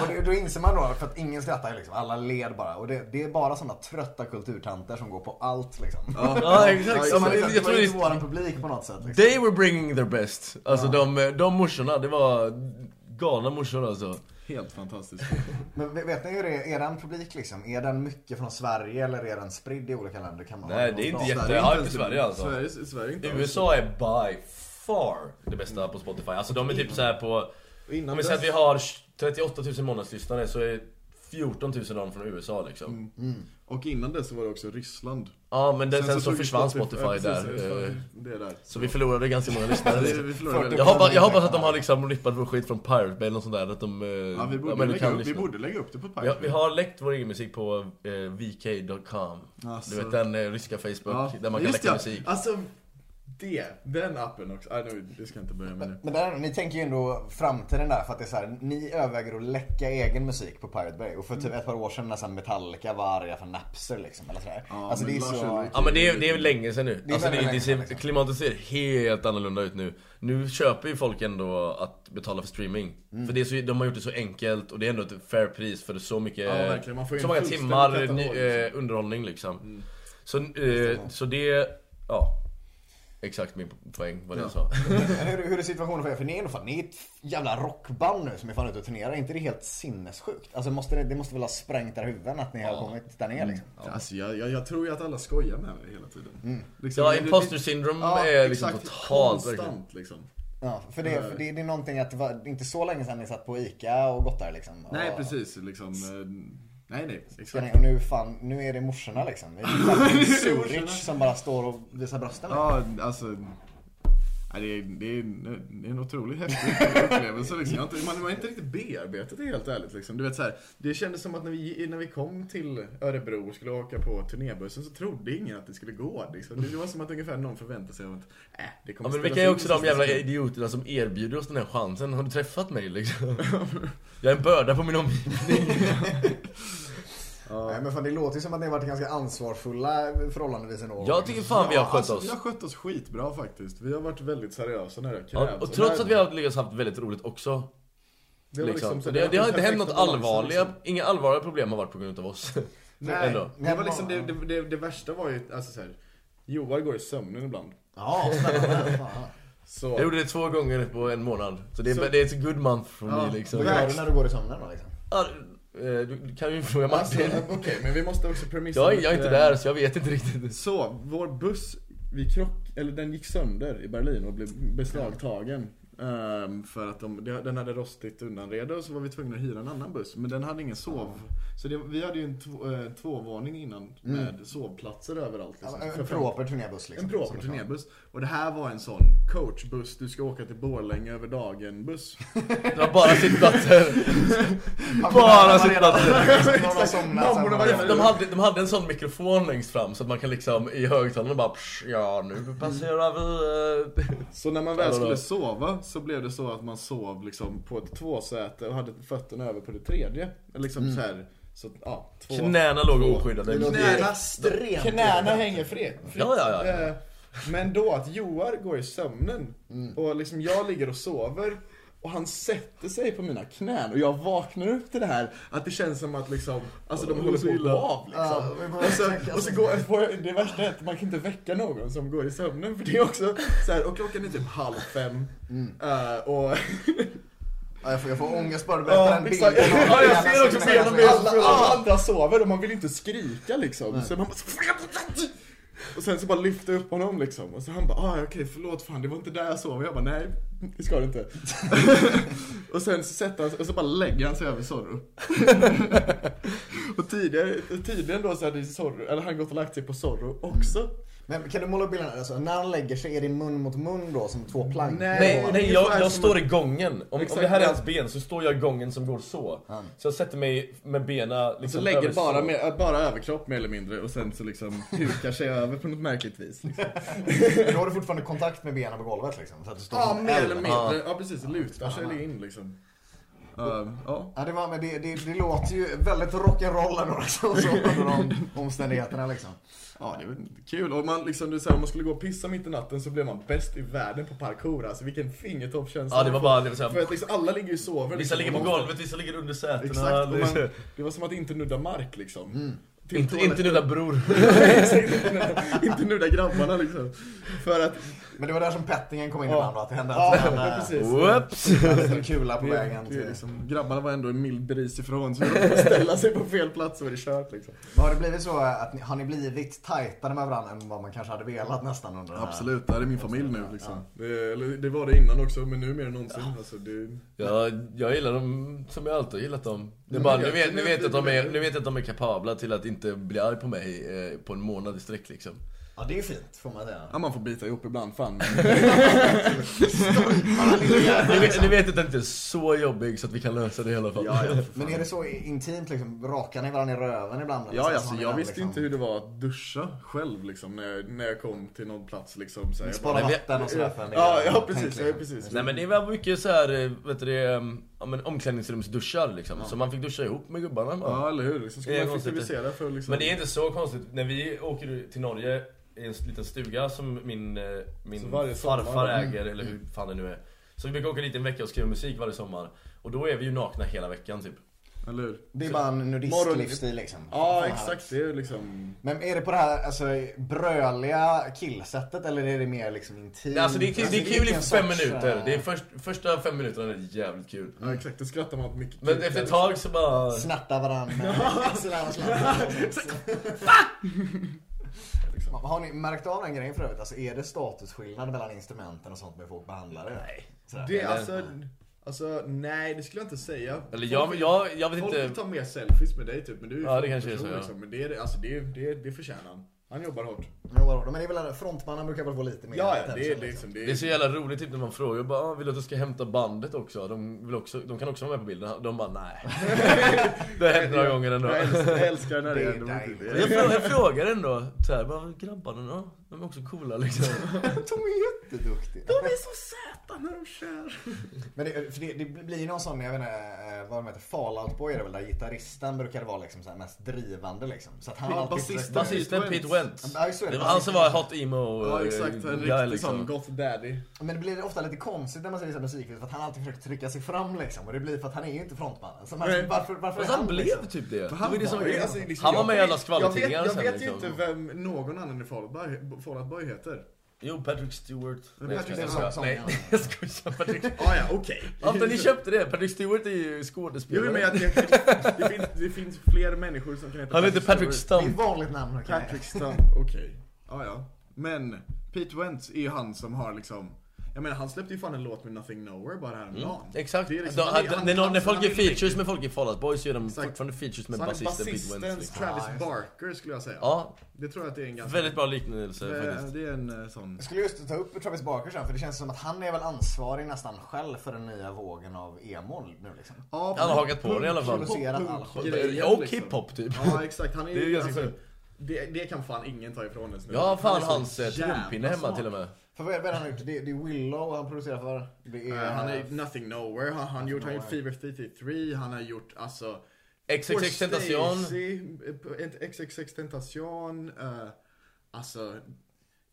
och det, då inser man då, för att ingen skrattar liksom. Alla ler bara. Och det, det är bara sådana trötta kulturtanter som går på allt liksom. *laughs* Ja exakt, Så man, liksom, jag det tror var det inte våran publik på något sätt. Liksom. They were bringing their best. Alltså de, de morsorna, det var galna morsor alltså. Helt fantastiskt. Men v- vet ni hur det är? den publik liksom? Är den mycket från Sverige eller är den spridd i olika länder? Kan man Nej, ha någon det är inte bas? jätte- är Ja, inte ens- i Sverige, alltså. Sverige, Sverige är inte alls- USA är by far det bästa på Spotify. Alltså de är typ så här på... Innan Om vi säger att dess- vi har 38 000 månadslyssnare så är 14 000 av dem från USA liksom. Mm. Och innan det så var det också Ryssland. Ja men det, sen, så, tog försvann Spotify, Spotify- ja, där. precis, eh, Det är där. Så vi förlorade ganska *laughs* många lyssnare. Vi- vi förlorade väldigt- jag, hoppas, jag hoppas att de har liksom rippat vår skit från Pirate Bay eller något sånt där. Att de... eh, Ja, vi, borde men lägga upp, vi lyssna. borde lägga upp det på Pirate Vi har, Bay. vi har läckt vår egen musik på eh, vk.com. Alltså. Du vet den eh, ryska Facebook Ja, där man kan just läcka det. musik. Alltså, det. Den appen också. Nej, nu, det ska jag inte börja med nu. Men där, ni tänker ju ändå framtiden där för att det är så här, ni överväger att läcka egen musik på Pirate Bay. Och för typ ett par år sedan när så här Metallica var arga för Napster liksom. Eller så där. alltså men det är Lars så... Ulrik- Ja men det är, det är länge sedan nu. Det är alltså, det, väldigt det länge ser, sedan, liksom. Klimatet ser helt annorlunda ut nu. Nu köper ju folk ändå att betala för streaming. Mm. För det är så, de har gjort det så enkelt och det är ändå ett fair pris för så mycket, verkligen. Man får ju så en många fullständig katalog, timmar ny, liksom. Mm. eh, underhållning liksom. Så, eh, så det, ja. Exakt min poäng vad det *laughs* jag sa. Men hur, hur är situationen för er? För ni är ändå fan, ni är ett jävla rockband nu som är fan ute och turnerar. Är inte det helt sinnessjukt? Alltså måste det, det måste väl ha sprängt era huvuden att ni har kommit där ner liksom? Alltså, jag, jag, jag tror ju att alla skojar med mig hela tiden. Mm. Liksom, Ja, det- det- imposter syndrome ja, är liksom exakt, totalt, verkligen. Konstant liksom. Ja, för det, för det, det är någonting att det var inte så länge sedan ni satt på ICA och gott där liksom. Nej, och, precis. Liksom, eh, nej, nej. Nej, Exakt. Och nu fan, nu är det morsorna *laughs* liksom. Det är Zurich som bara står och visar brösten. Ja, alltså. Ja, det, är, det, är, en- det är en otroligt häftig upplevelse. Liksom. Jag har inte, man, man har inte riktigt bearbetat det helt ärligt. Liksom. Du vet, så här, det kändes som att när vi, när vi kom till Örebro och skulle åka på turnébussen så trodde ingen att det skulle gå. Liksom. Det var som att ungefär någon förväntade sig att äh, det kommer Ja, men spelas vilka är in också på de sista jävla sekunden. idioterna som erbjuder oss den här chansen? Har du träffat *laughs* mig liksom? Jag är en börda på min omgivning. Nej, men fan, det låter ju som att ni har varit ganska ansvarsfulla förhållandevis ändå. Jag tycker fan vi har skött Alltså, oss. vi har skött oss skitbra faktiskt. Vi har varit väldigt seriösa när det har Ja, krävts. och trots det- att vi har liksom haft väldigt roligt också. det var så- Liksom. Så det, det har inte hänt något perfekta balansen, allvarliga, liksom. inga allvarliga problem har varit på grund av oss. Nej, Ändå. det var liksom det, det, det, det värsta var ju alltså så här, Joar går i sömnen ibland. Ja, spännande. Fan. Så, *laughs* Jag gjorde det två gånger på en månad. Så det är, det är ett good month for me liksom. Vad gör du när du går i sömnen då liksom? Ja, eh, du kan ju fråga alltså, Martin. eh, *laughs* Okej, men vi måste också premissa Jag, är- jag är inte lite- där så jag vet inte riktigt. Så, vår buss, vi krock, eller den gick sönder i Berlin och blev beslagtagen. Ehm, för att de, det- den hade rostigt undanrede och så var vi tvungna att hyra en annan buss. Men den hade ingen sov. Så det, vi hade ju en två, eh, tvåvåning innan med sovplatser överallt. liksom. För Mm. En fem- proper turnébuss liksom. En proper turnébuss. Och det här var en sån coachbuss, du ska åka till Borlänge *laughs* över dagen-buss. Det var bara sittplatser. Bara *laughs* Bara sittplatser. *laughs* Någon har Exakt. somnat. sen Mammorna var var det- jävla- De hade, de hade en sån mikrofon längst fram så att man kan liksom i högtalarna bara psh, Ja nu passerar vi... eh, Så när man väl Eller skulle då? sova så blev det så att man sov liksom på ett tvåsäte och hade fötterna över på det tredje. Liksom Mm. så här, så att, ja, två. Knäna låg oskyddade. Knäna, extremt knäna hänger fritt. Ja, ja, ja. Eh, Men då att Joar går i sömnen Mm. och liksom jag ligger och sover och han sätter sig på mina knän och jag vaknar upp till det här att det känns som att liksom, alltså de håller på att gå Ja, av liksom. men bara och, så, exakt, och så alltså. går, får jag- det värsta är att man kan inte väcka någon som går i sömnen för det är också så här, och klockan är typ halv fem Mm. eh, och *laughs* Ja, jag, får, jag får ångest bara du berättar den bilden. exakt. Ja, jag ser också Alla- benen med alla- alla andra sover och man vill inte skrika liksom. Så man bara... Och sen så bara lyfta upp honom liksom. Och så han bara, ah, okej förlåt fan det var inte där jag sov. Och jag bara, nej det ska du *laughs* inte. och sen så sätter han sig- och så bara lägger han sig över *laughs* Zorro. och tidigare, tidigare då så hade ju Zorro, eller han gått och lagt sig på Zorro också. Men kan du måla upp bilden? Alltså, när han lägger sig, är det mun mot mun då som två plank? Nej, nej jag, ungefär jag som- står i gången. Om, om Exakt. det här är hans ben så står jag i gången som går så. Så jag sätter mig med benen liksom Så Alltså, lägger över bara, så. med, bara överkropp mer eller mindre och sen så liksom hukar sig över på något märkligt vis. Liksom. Men Då har du fortfarande kontakt med benen på golvet liksom. Så att du står Ja, som en mer L. eller mindre. Ja, precis. Lutar sig in liksom. Ehm, Ja. Ja, det, var, men det, det, det låter ju väldigt rock'n'roll ändå liksom, så, under *laughs* de omständigheterna liksom. ja, det är väl kul. Och man, liksom, du, så här, om man skulle gå och pissa mitt i natten så blev man bäst i världen på parkour. Alltså vilken fingertoppskänsla. Ja, det var bara- det var så här- För att liksom, alla ligger ju och sover. Vissa liksom. ligger på Man- golvet, vissa ligger under sätena. Exakt. Och Det- man, det var som att inte nudda mark liksom. Till Inte, toaletten. inte nu där bror. *laughs* Exakt, inte nudda- *laughs* inte nudda grabbarna liksom. För att... Men det var där som pettingen kom in Ja. ibland då, att det hände Ja, att han eh, precis. Whoops! hade en liten kula på Det, vägen. det är Till. liksom, grabbarna var ändå en mild bris ifrån så de kunde ställa sig på fel plats så var det kört liksom. Men har det blivit så att ni, har ni blivit tajtare med varandra än vad man kanske hade velat nästan under den här? Absolut, det här är min familj nu liksom. Det, eller, det var det innan också, men nu mer än någonsin. Alltså, det, Jag, jag gillar dem som jag alltid har gillat dem. Det är bara, nu, vet, nu, vet jag att de är, nu vet jag att de är kapabla till att inte bli arg på mig eh, på en månad i *laughs* sträck liksom. Ja, det är fint får man säga. ja, man får bita ihop *laughs* ibland, fan. Nu vet, nu vet jag att den inte är så jobbig så att vi kan lösa det i alla fall. Men är det så intimt liksom? Rakar ni varandra i röven ibland? eller ja, så? alltså, Har ni jag den, visste liksom, inte hur det var att duscha själv liksom, när, jag- när jag kom till någon plats. Liksom, så här, jag Spara Nej, vi- vatten och sådär för en ja, egen ja, tank, precis. Ja, liksom. precis. Nej men det var mycket så här, eh, vet du det, eh, ja, men omklädningsrumsduschar liksom. Så man fick duscha ihop med gubbarna bara. Ja, eller hur? Liksom, ska Det är man konstigt. typ. effektivisera för att liksom... Men det är inte så konstigt. När vi åker till Norge i en liten stuga som min, eh, Så min varje farfar sommar Mm. då? äger, eller hur fan det nu är. Så vi brukar åka dit en vecka och skriva musik varje sommar. Och då är vi ju nakna hela veckan typ. Eller hur? Det är bara en Morgon- nudistlivsstil liksom. Fan, Ja, här. exakt. Det är liksom... Men är det på det här alltså, bröliga killsättet eller är det mer liksom intimt? Nej, Alltså det är, det är kul i vilken fem sorts, minuter. eh, Det är först, första fem minuterna är det jävligt kul. Ja, exakt. Då skrattar man åt mycket. Men efter ett tag så bara... Snärta *laughs* varandra. axlarna och slantar. Har ni märkt av den grejen för övrigt? Alltså är det statusskillnad mellan instrumenten och sånt med folk behandlar det? Nej. Det är alltså... Alltså, nej, det skulle jag inte säga. Eller jag, jag, jag vet Folk inte... vill ta mer selfies med dig typ, men du är ju liksom, Ja, det en kanske är person, så, ja. Men det, är, alltså, det, är- det, är- det förtjänar han. Han jobbar hårt. Jo, vadå? Men det är väl frontmannen brukar väl få lite mer Ja, ja, attention, det är liksom. liksom... Det Det är är, så jävla roligt typ när man frågar bara, ah, vill du att jag ska hämta bandet också? De, vill också? de kan också vara med på bilden. De *laughs* bara, nej. det har hänt några gånger ändå. jag älskar, *laughs* jag älskar när det Det är händer dejligt. någonting. Jag, frå, jag frågar ändå så här, bara, grabbarna då? De är också coola liksom. *laughs* De är jätteduktiga. De är så söta när de kör. Men det, för det, det blir ju någon sån, jag vet inte eh, vad de heter, Fallout Boy är det väl, där gitarristen brukar vara liksom så här mest drivande liksom. Så att han Ja, alltid basisten. försöker- Basisten Pete Wentz. Ja, just det. Det var han som var hot emo Ja, eh, exakt. En guy, riktig liksom. sån goth daddy. Men det blir ofta lite konstigt när man ser vissa musikvideos för att han alltid försöker trycka sig fram liksom. Och det blir för att han är ju inte frontmannen. Så man, Nej. varför, varför Fast är han blev liksom? typ det. Han Det är det som var, är grejen. alltså, liksom, Han var jag- med i alla Jag skvallertidningar vet, jag sen, vet ju liksom. inte vem någon annan i Fallout Boy, Fallout Boy heter. Jo, Patrick Stewart. Nej, jag Patrick skojar. *laughs* Stewart. Nej, jag skojar. Patrick Ah, ja, okej. Ja, men ni köpte det. Patrick Stewart är ju Jo, skådespelare. men jag, jag, det, finns, det finns fler människor som kan heta Han heter Patrick Stewart. Det är ett Stump. vanligt namn. okej. *laughs* Patrick Stump, okej. Ja, ja. Men Pete Wentz är ju han som har liksom jag menar han släppte ju fan en låt med Nothing Nowhere bara häromdagen. Mm, Exakt. Alltså, Det är liksom- Då- han är- när- han- när, han- när folk han gör riktigt- features med folk i Fall Out Boy så gör de Exakt. fortfarande features med Så han är basisten Pete Wentz. Basistens Liksom. Travis Barker skulle jag säga. Ja, Det tror jag att det är en ganska... väldigt bra liknelse eh, faktiskt. det är en eh, sån... Jag skulle just ta upp Travis Barker sen för det känns som att han är väl ansvarig nästan själv för den nya vågen av emo nu liksom. Ja, Han har hakat på det i alla fall. Producerat all skit. grejen, Och liksom. hiphop typ. Ja exakt, han är *laughs* Det är ju... ganska Alltså, sjukt. det, det kan fan ingen ta ifrån oss nu. Jag har fan är så hans eh, jävla trumpinne hemma smart. till och med. För vad är vad är det han har gjort? Det, det är Willow han producerar för. Det är... Eh, Han har gjort Nothing Nowhere, han, han, gjort, han har gjort Fever 33, han har gjort alltså... XXX Tentacion. Stacy, eh, XXX Tentacion, eh, alltså...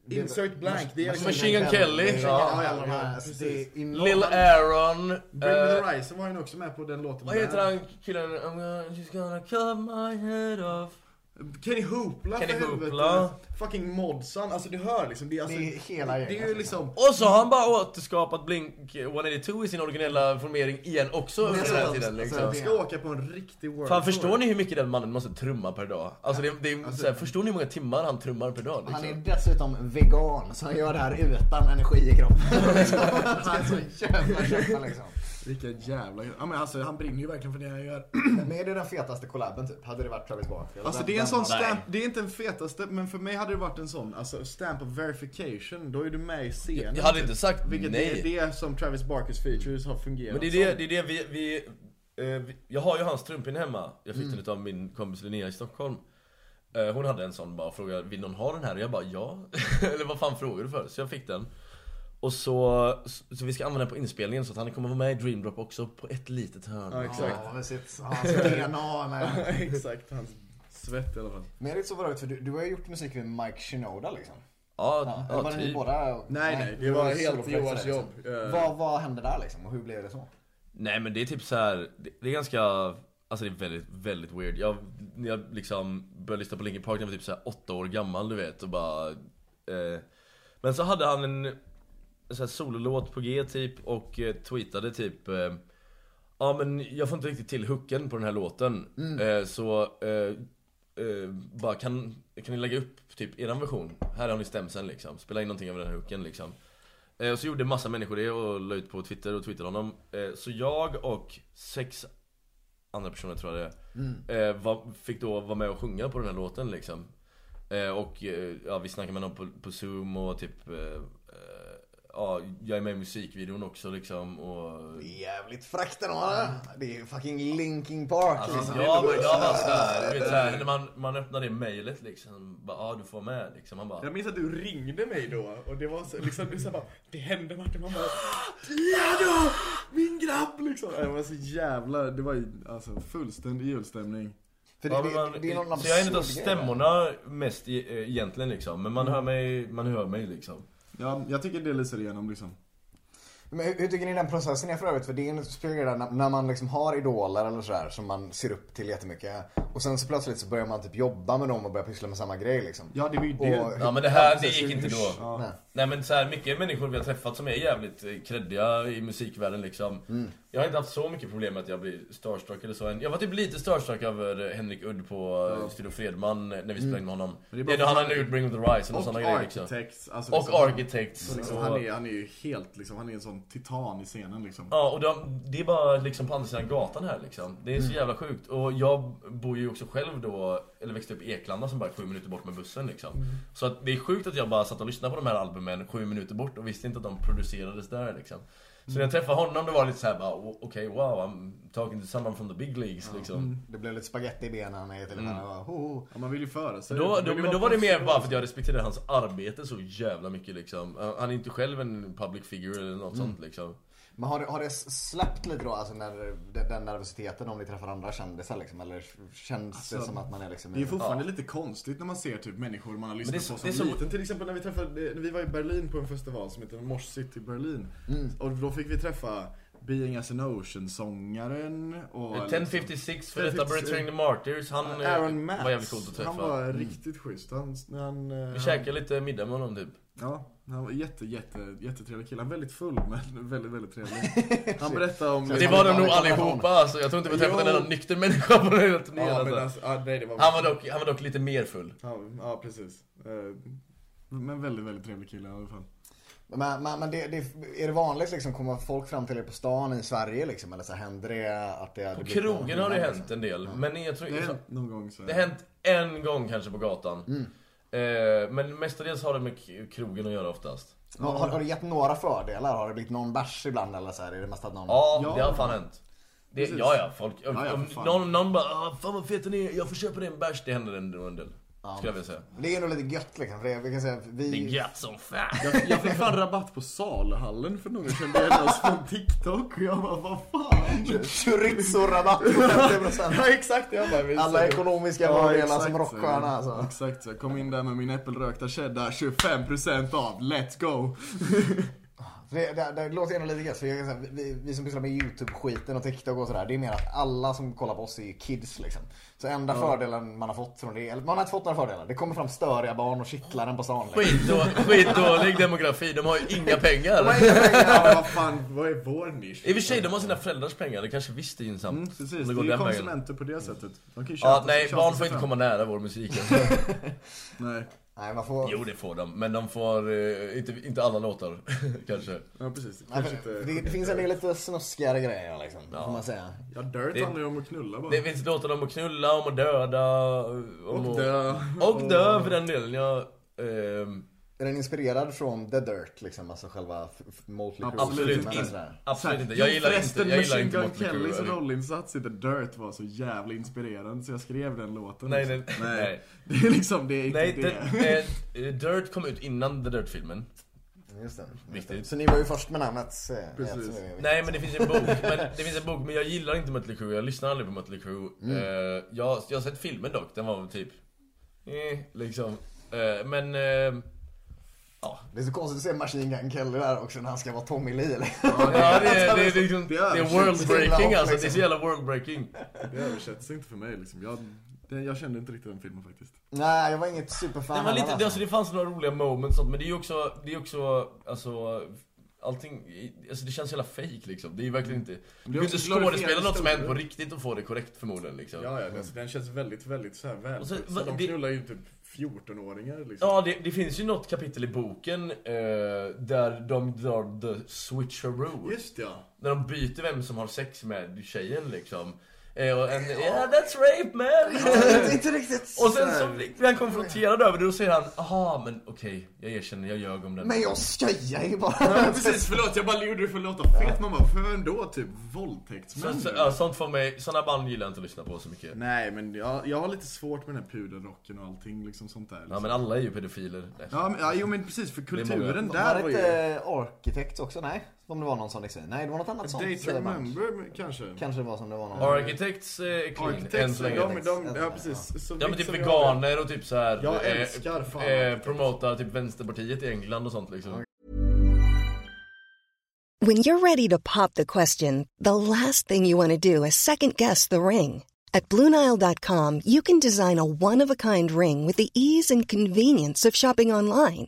Insert blank, det är liksom- Machine Gun Kelly. liksom Ja, Ja, ja, alla de här. ja, Så precis. det är enormt. Lil Aaron. Bring Me eh, The Horizon var han också med på den låten. Vad heter han killen? I'm gonna, she's gonna cut my head off. Kenny Hoopla Kenny för Hoopla. helvete. Fucking Modsan, alltså du hör liksom. Det är, alltså, Det är hela Det är ju gänget. alltså. liksom... Och så har han bara återskapat Blink 182 i sin originella formering igen också under den här tiden liksom. Alltså, ska åka på en riktig world Fan förstår tour. ni hur mycket den mannen måste trumma per dag? Alltså, det, det är, såhär, förstår ni hur många timmar han trummar per dag? Han är Liksom? dessutom vegan så han gör det här utan energi i *laughs* kroppen. han ska så jävla köpa liksom. Vilken jävla... Ja, men alltså, han brinner ju verkligen för det *clears throat* han gör. Men är det den fetaste collaben typ? Hade det varit Travis Barker? Alltså Den- det är en den sån var- stamp, det är inte den fetaste, men för mig hade det varit en sån, alltså stamp of verification, då är du med i scenen. Jag hade typ. inte sagt Vilket nej. det är det som Travis Barkers features har fungerat Men det är det, det, är det vi, vi, eh, vi... Jag har ju hans trumpinne hemma. Jag fick den Mm. utav min kompis Linnea i Stockholm. Eh, hon hade en sån bara och frågade, vill någon ha den här? Och jag bara, ja. *laughs* Eller vad fan frågar du för? Så jag fick den. Och så, så så vi ska använda den på inspelningen så att han kommer vara med i Dream Drop också på ett litet hörn. som. Ja, exakt. Ja, med sitt *laughs* hans DNA med. *laughs* exakt, hans *laughs* svett i alla fall. Men är det inte så var det, för du, du har ju gjort musik med Mike Shinoda liksom. Ja, Eller var det typ. ni båda? Nej, nej, det du var var helt soloprojekt Johans sådär, liksom. jobb. Eh. Vad, vad hände där liksom och hur blev det så? Nej men det är typ så här. Det, det är ganska, alltså det är väldigt, väldigt weird. Jag, när jag liksom började lyssna på Linkin Park när jag var typ så här åtta år gammal du vet och bara eh, Men så hade han en, en så här sololåt på G typ och eh, tweetade typ eh, Ja men jag får inte riktigt till hooken på den här låten eh, Så eh, eh, bara kan, kan ni lägga upp typ eran version? Här har ni stämsen liksom, spela in någonting av den här hooken liksom Eh, Och så gjorde massa människor det och la ut på Twitter och twittrade honom Eh, Så jag och sex andra personer tror jag det är, eh, var, Fick då vara med och sjunga på den här låten liksom eh, Och eh, ja, vi snackade med någon på, på zoom och typ eh, eh, Ja, jag är med i musikvideon också liksom och... Det är jävligt fräckt ändå. va? Det är ju fucking Linkin Park liksom. Alltså, Ja men jag var sådär, du vet såhär, när man, man öppnar det mejlet liksom, bara ja du får vara med liksom, man bara Jag minns att du ringde mig då och det var så, liksom, du sa bara Det hände Martin, man bara Ja då! Min grabb liksom! Det var så jävla, det var ju alltså fullständig julstämning. För det, Ja, det, men man, det, är någon så jag är en av absurd grej, va? stämmorna mest i, eh, egentligen liksom, men man hör mig, man hör mig liksom Ja, jag tycker det lyser igenom liksom. Men hur, hur tycker ni den processen är för övrigt? För det är en spelgrej där när, när man liksom har idoler eller sådär som man ser upp till jättemycket. Och sen så plötsligt så börjar man typ jobba med dem och börjar pyssla med samma grej liksom. Ja, det var ju det. Och- Ja men det här, det precis, gick hur- inte hur- då Nej. Nej men så här, mycket människor vi har träffat som är jävligt eh, kreddiga i musikvärlden liksom Mm. Jag har inte haft så mycket problem med att jag blir starstruck eller så än. Jag var typ lite starstruck över eh, Henrik Udd på ja. Studio Fredman eh, när vi Mm. spelade med honom det är Det bara är då för- han har gjort Bring of the Horizon och, Och sådana grejer liksom Architects. Alltså, Och liksom, Architects så liksom, han, är, han är ju helt liksom, han är en sån titan i scenen liksom. Ja, och de, det Mm. är bara liksom på andra sidan gatan här liksom. Det är så jävla sjukt. Och jag bor ju också själv då eller växte upp i Eklanda som bara är sju minuter bort med bussen liksom. Så att det är sjukt att jag bara satt och lyssnade på de här albumen sju minuter bort och visste inte att de producerades där liksom. Så när jag träffade honom det var lite såhär bara okej wow I'm talking to someone from the big leagues liksom. Det blev lite spaghetti i benen i till och med. Mm. Oh, Ja, man vill ju föra sig. Då, Man vill då, ju men då vara var det mer positiv. bara för att jag respekterade hans arbete så jävla mycket liksom. Eh, Han är inte själv en public figure eller något sånt liksom. Men har, det- har det släppt lite då, alltså när, den, den nervositeten om ni träffar andra kändisar liksom? Eller känns det Alltså, som att man är liksom... Det är ju fortfarande lite konstigt när man ser typ människor man har lyssnat Men på det är- det som är som- liten. Till exempel när vi träffade, när vi var i Berlin på en festival som heter Mosh City Berlin. Mm. Och då fick vi träffa Being As An Ocean-sångaren och... Eh, 1056 1056, för detta Returning the Martyrs, han eh, Aaron Max. var jävligt coolt att träffa. Mm. Han var riktigt schysst. Han, han, eh, Vi käkade lite middag med honom typ. Ja, han var jätte, jätte, jättetrevlig kille. Han var väldigt full men *laughs* väldigt, väldigt *laughs* trevlig. Han berättade om... Det var de nog allihopa alltså, jag tror inte vi träffat en Jo. enda nykter människa på den här turnén Ja, men alltså. alltså, ja, nej, det var... han, var dock, han var dock lite mer full. Ja, ja precis. Eh, Men väldigt, väldigt trevlig kille i alla fall. Men, men, men det, det, är det vanligt liksom, kommer folk fram till er på stan i Sverige liksom? Eller så händer det att det... På krogen har det hänt en del, men jag tror Det har så- hänt Eh, någon gång så. Det har hänt en gång kanske på gatan. Mm. Eh, Men mestadels har det med k- krogen att göra oftast. Har, har, har det gett några fördelar? Har det blivit någon bärs ibland eller så här? Är det mest att någon... Ja, Ja. det har fan hänt. Det, Precis. ja, ja, folk. Om, ja, för om fan. någon, någon bara "Ah, 'Fan vad fet den är, jag får köpa dig en bärs' Det händer en, en del. Skulle jag vilja säga. Det är nog lite gött liksom. För det, vi kan säga, att vi... Det är gött som fan. Jag, jag fick fan rabatt på Salhallen för någon kände jag igen oss från TikTok och jag bara vad fan? *laughs* Chorizo-rabatt på 50%. *laughs* Ja exakt, jag bara visst. Alla ekonomiska fördelar exakt, som rockstjärna alltså. Exakt, så jag kom in där med min äppelrökta cheddar, 25% av, let's go! Det, det, det låter ändå lite gött. För jag kan säga, vi, vi som pysslar med YouTube-skiten och TikTok och sådär. Det är mer att alla som kollar på oss är ju kids liksom. Så enda fördelen man har fått från det, eller man har inte fått några fördelar. Det kommer fram störiga barn och kittlar den på stan. Liksom. Skitdå- Skitdålig demografi, de har ju inga pengar. Ja, men vad fan, vad är vår nisch? I och för sig, de har sina föräldrars pengar, det kanske visst är gynnsamt. Mm, precis, det Om är ju den vägen. konsumenter på det sättet. De kan ju Ja, köpa- nej, köpa barn sig får inte fram. komma nära vår musik. *laughs* Alltså. Nej, Nej, man får... Jo, det får de, men de får eh, inte, inte alla låtar *laughs* kanske. ja precis. Nej, Kanske för- inte... det, det finns en del lite snuskigare grejer liksom, får man säga. Ja, Dirt handlar ju om att knulla bara. Det finns låtar om att knulla, om att döda. eh, Om Och dö. Och dö för den delen. Jag, ehm, Är den inspirerad från The Dirt liksom? Alltså själva f- f- Motley Crue? Absolut filmen och inte. sådär? absolut inte. Jo, Jag gillar inte, förresten, jag gillar Machine inte Gun Motley Crue. Kellys eller- rollinsats i The Dirt var så jävla inspirerande så jag skrev den låten. Nej, nej, nej. nej. *laughs* Det är liksom, det är inte Nej, det. det, eh, Dirt kom ut innan The Dirt-filmen. Just det. Just det. Viktigt. Så ni var ju först med namnet. eh, Precis. så är vi- Nej, men det finns en bok. Men, det finns en bok, men jag gillar inte Mötley Crüe. Jag lyssnar aldrig på Mötley Crüe. Eh, jag, jag har sett filmen dock. Den var väl typ... Eh, liksom. Eh, men... eh, ja. Det är så konstigt att se Machine Gun Kelly där också när han ska vara Tommy Lee. liksom. eller? Ja, *laughs* det, är- det är liksom, det Det är är world-breaking liksom. alltså. Det är så jävla world-breaking. *laughs* Det översätts inte för mig liksom. Jag, det, jag kände inte riktigt den filmen faktiskt. Nej, jag var inget superfan. Det, var av lite, den, det, alltså, det fanns några roliga moments och sånt, men det är ju också, det är också, alltså Allting, alltså det känns jävla fake liksom. Det är ju verkligen inte... Du kan ju inte också glorifierande skådespela något som historier. hänt på riktigt och få det korrekt förmodligen liksom. Ja, Ja, ja, alltså, den känns väldigt, väldigt så här väl. Och så- Så, va- de det- knullar ju typ 14-åringar liksom. det, det finns ju något kapitel i boken eh, där de drar the switcheroo. Just ja. När de byter vem som har sex med tjejen liksom. Eh, och en, yeah that's *laughs* rape man! Alltså. Inte riktigt. och sen så blir han konfronterad över det och säger han, aha men okej, jag erkänner, jag ljög om den. Men jag skojar ju *laughs* bara. Precis, förlåt. Jag bara gjorde det för att låta fet. Man bara, för vem då? Typ Så, våldtäktsmän? så, nu? ja, sånt får mig, såna band gillar jag inte att lyssna på så mycket. Nej, men jag, jag har lite svårt med den här pudelrocken och allting liksom sånt där. Liksom. Ja men alla är ju pedofiler. Nej. Ja, men, ja, jo men precis, för många. kulturen Var där det var ju... inte Architect eh, också? Nej, om det var någon sån liksom. Nej, det var något annat sånt. Day to säger man. remember kanske? Kanske det var som det var någon. Architects eh, är clean, än Arkitekter, så länge. de, de, Än så ja länge, precis. Så Ja men mycket typ som vi har- veganer och typ såhär... Jag älskar fan eh, Architects. Promotar typ vänsterpartiet i England och sånt liksom. When you're ready to pop the question, the last thing you want to do is second guess the ring. At Bluenile.com, you can design a one of a kind ring with the ease and convenience of shopping online.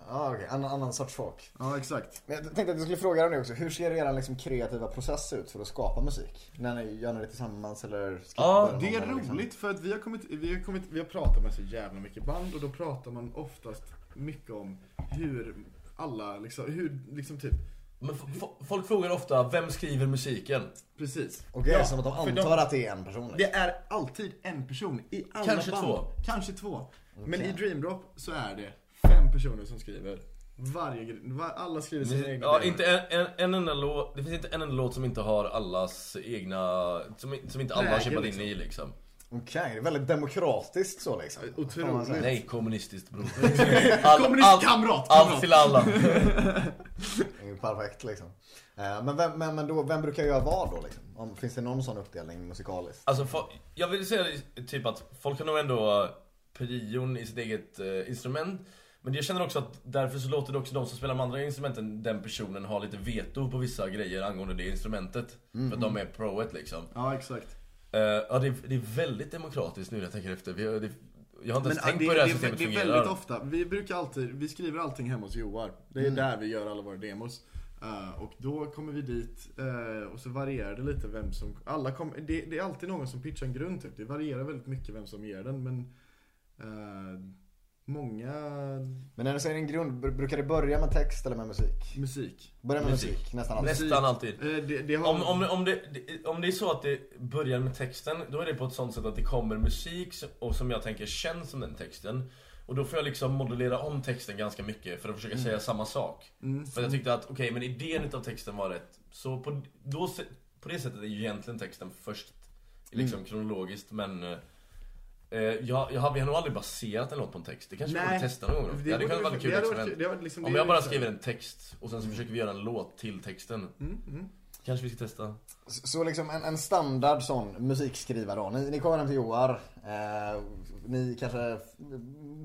Ja, okej. Annan, annan sorts folk. Ja, exakt. Men jag tänkte att jag skulle fråga dig nu också. Hur ser er liksom kreativa process ut för att skapa musik? När ni gör det tillsammans eller? skippar Ja, någon det är eller liksom? roligt för att vi har, kommit, vi, har kommit, vi har pratat med så jävla mycket band och då pratar man oftast mycket om hur alla, liksom, hur, liksom typ, Men f- f- folk frågar ofta, vem skriver musiken? precis. Okej, Ja, som att de för antar att det är en person. Liksom. Det är alltid en person i alla Kanske band. två. Kanske två. Men i Dreamdrop så är det fem personer som skriver. Varje gre- var, Alla skriver sina egna Mm. Ja, grejer. inte en, en, en enda låt, det finns inte en enda låt som inte har allas egna, som, i- som inte alla har Läge, chippat liksom. in i liksom. Okej, det är väldigt demokratiskt så liksom. Otroligt. Nej, kommunististiskt bror. All, Kommunist- kamrat, kamrat. allt till alla. Det är ju perfekt liksom. Eh, Men vem, men, men då, vem brukar göra vad då liksom? Om, finns det någon sån uppdelning musikaliskt? Alltså, fo- jag vill säga det, typ att folk har nog ändå prion i sitt eget eh, instrument. Men jag känner också att därför så låter det också de som spelar med andra instrumenten, den personen ha lite veto på vissa grejer angående det instrumentet. För att de är proet liksom. Ja, exakt. Eh, ja, det är, det är väldigt demokratiskt nu när jag tänker efter. Vi, har- det, jag har inte Men det, ens tänkt det, på hur det här det, systemet det är fungerar. väldigt ofta, vi brukar alltid, vi skriver allting hemma hos Joar. Det Mm. är där vi gör alla våra demos. Eh, och då kommer vi dit eh, och så varierar det lite vem som, alla kom, det, det är alltid någon som pitchar en grund typ. Det varierar väldigt mycket vem som ger den men eh, Många Men när du säger en grund, br- brukar det börja med text eller med musik? musik. Börja med musik, Musik. nästan alltid. Nästan Musik. alltid. Eh, det, det har, Om, om, om, det, det- om det är så att det börjar med texten, då är det på ett sånt sätt att det kommer musik som- och som jag tänker känns som den texten. Och då får jag liksom modellera om texten ganska mycket för Mm. att försöka säga samma sak. För jag tyckte att, okej men idén utav texten var rätt. Så på, då, se- på det sättet är ju egentligen texten först, liksom Mm. kronologiskt men eh, eh, jag, jag, har- vi har nog aldrig baserat en låt på en text. Det kanske vi Nej. borde testa någon gång. Det Det, hade borde kunnat vi- vara ett kul det hade varit- experiment. det hade varit liksom- Om det Mm. är jag bara ju så här- skriver en text och sen så försöker vi göra en låt till texten. Mm, Kanske vi ska testa. Så så liksom en, en standard sån musikskrivare då. Ni, ni kommer hem till Joar. Eh, ni kanske f-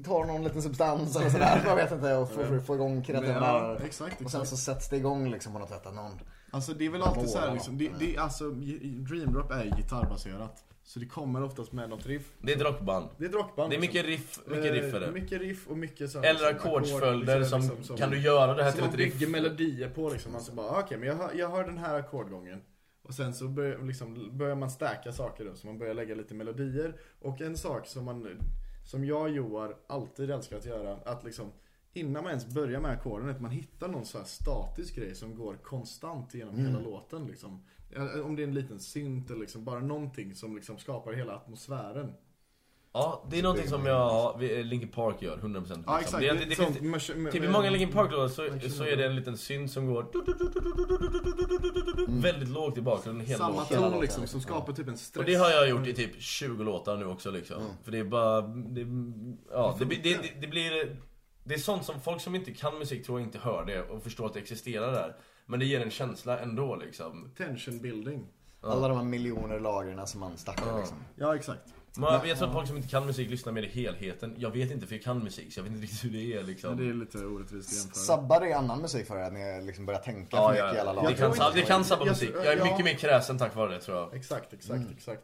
tar någon liten substans eller *laughs* sådär. Jag vet inte. Och får, får, får igång kreativa Men ja, exakt, Och sen exakt. så sätts det igång liksom på något sätt. Att någon... Alltså det är väl alltid så här Måla liksom, det, något. det, alltså Dreamdrop är ju gitarrbaserat. Så det kommer oftast med något riff. Det är ett rockband. Det är ett rockband. Det är mycket liksom. riff, mycket riff är Eh, det. Mycket riff och mycket så här, Eller liksom, ackordsföljder liksom, som, liksom, kan du göra det här som till ett man bygger riff? melodier på liksom. Alltså bara, okej men jag hör, jag hör den här ackordgången. Och sen så börjar, liksom, börjar man stärka saker då, så man börjar lägga lite melodier. Och en sak som man, som jag och Joar alltid älskar att göra, att liksom Innan man ens börjar med ackorden, att man hittar någon så här statisk grej som går konstant genom hela låten liksom. Eh, Om det är en liten synt eller liksom bara någonting som liksom skapar hela atmosfären. Ja, det är någonting som jag, vi- eh, Linkin Park gör, 100% liksom. Ja, exakt. Det, Det är- är det, det sånt, finns, mash- med- typ i med- många Linkin Park då, så, så är det en liten synt som går väldigt lågt i bakgrunden hela Mm. Samma låten. ton liksom, som skapar typ en stress. Och det har jag gjort i typ 20 låtar nu också liksom. För det är bara, det, ja, det, blir- det, det, det blir, det är sånt som folk som inte kan musik tror jag inte hör det och förstår att det existerar där. Men det ger en känsla ändå liksom. Tension building. Alla de här miljoner lagren som man stackar liksom. Ja, exakt. Men jag, jag tror att folk som inte kan musik lyssnar mer i helheten. Jag vet inte för jag kan musik så jag vet inte riktigt hur det är liksom. Det är lite orättvist att jämföra. Sabbar det annan musik för er? Att ni liksom börjar tänka för Ja, mycket i alla ja, lager? det, kan, sab- det kan sabba Jag- musik. Jag är ja. mycket mer kräsen tack vare det tror jag. Exakt, exakt, exakt.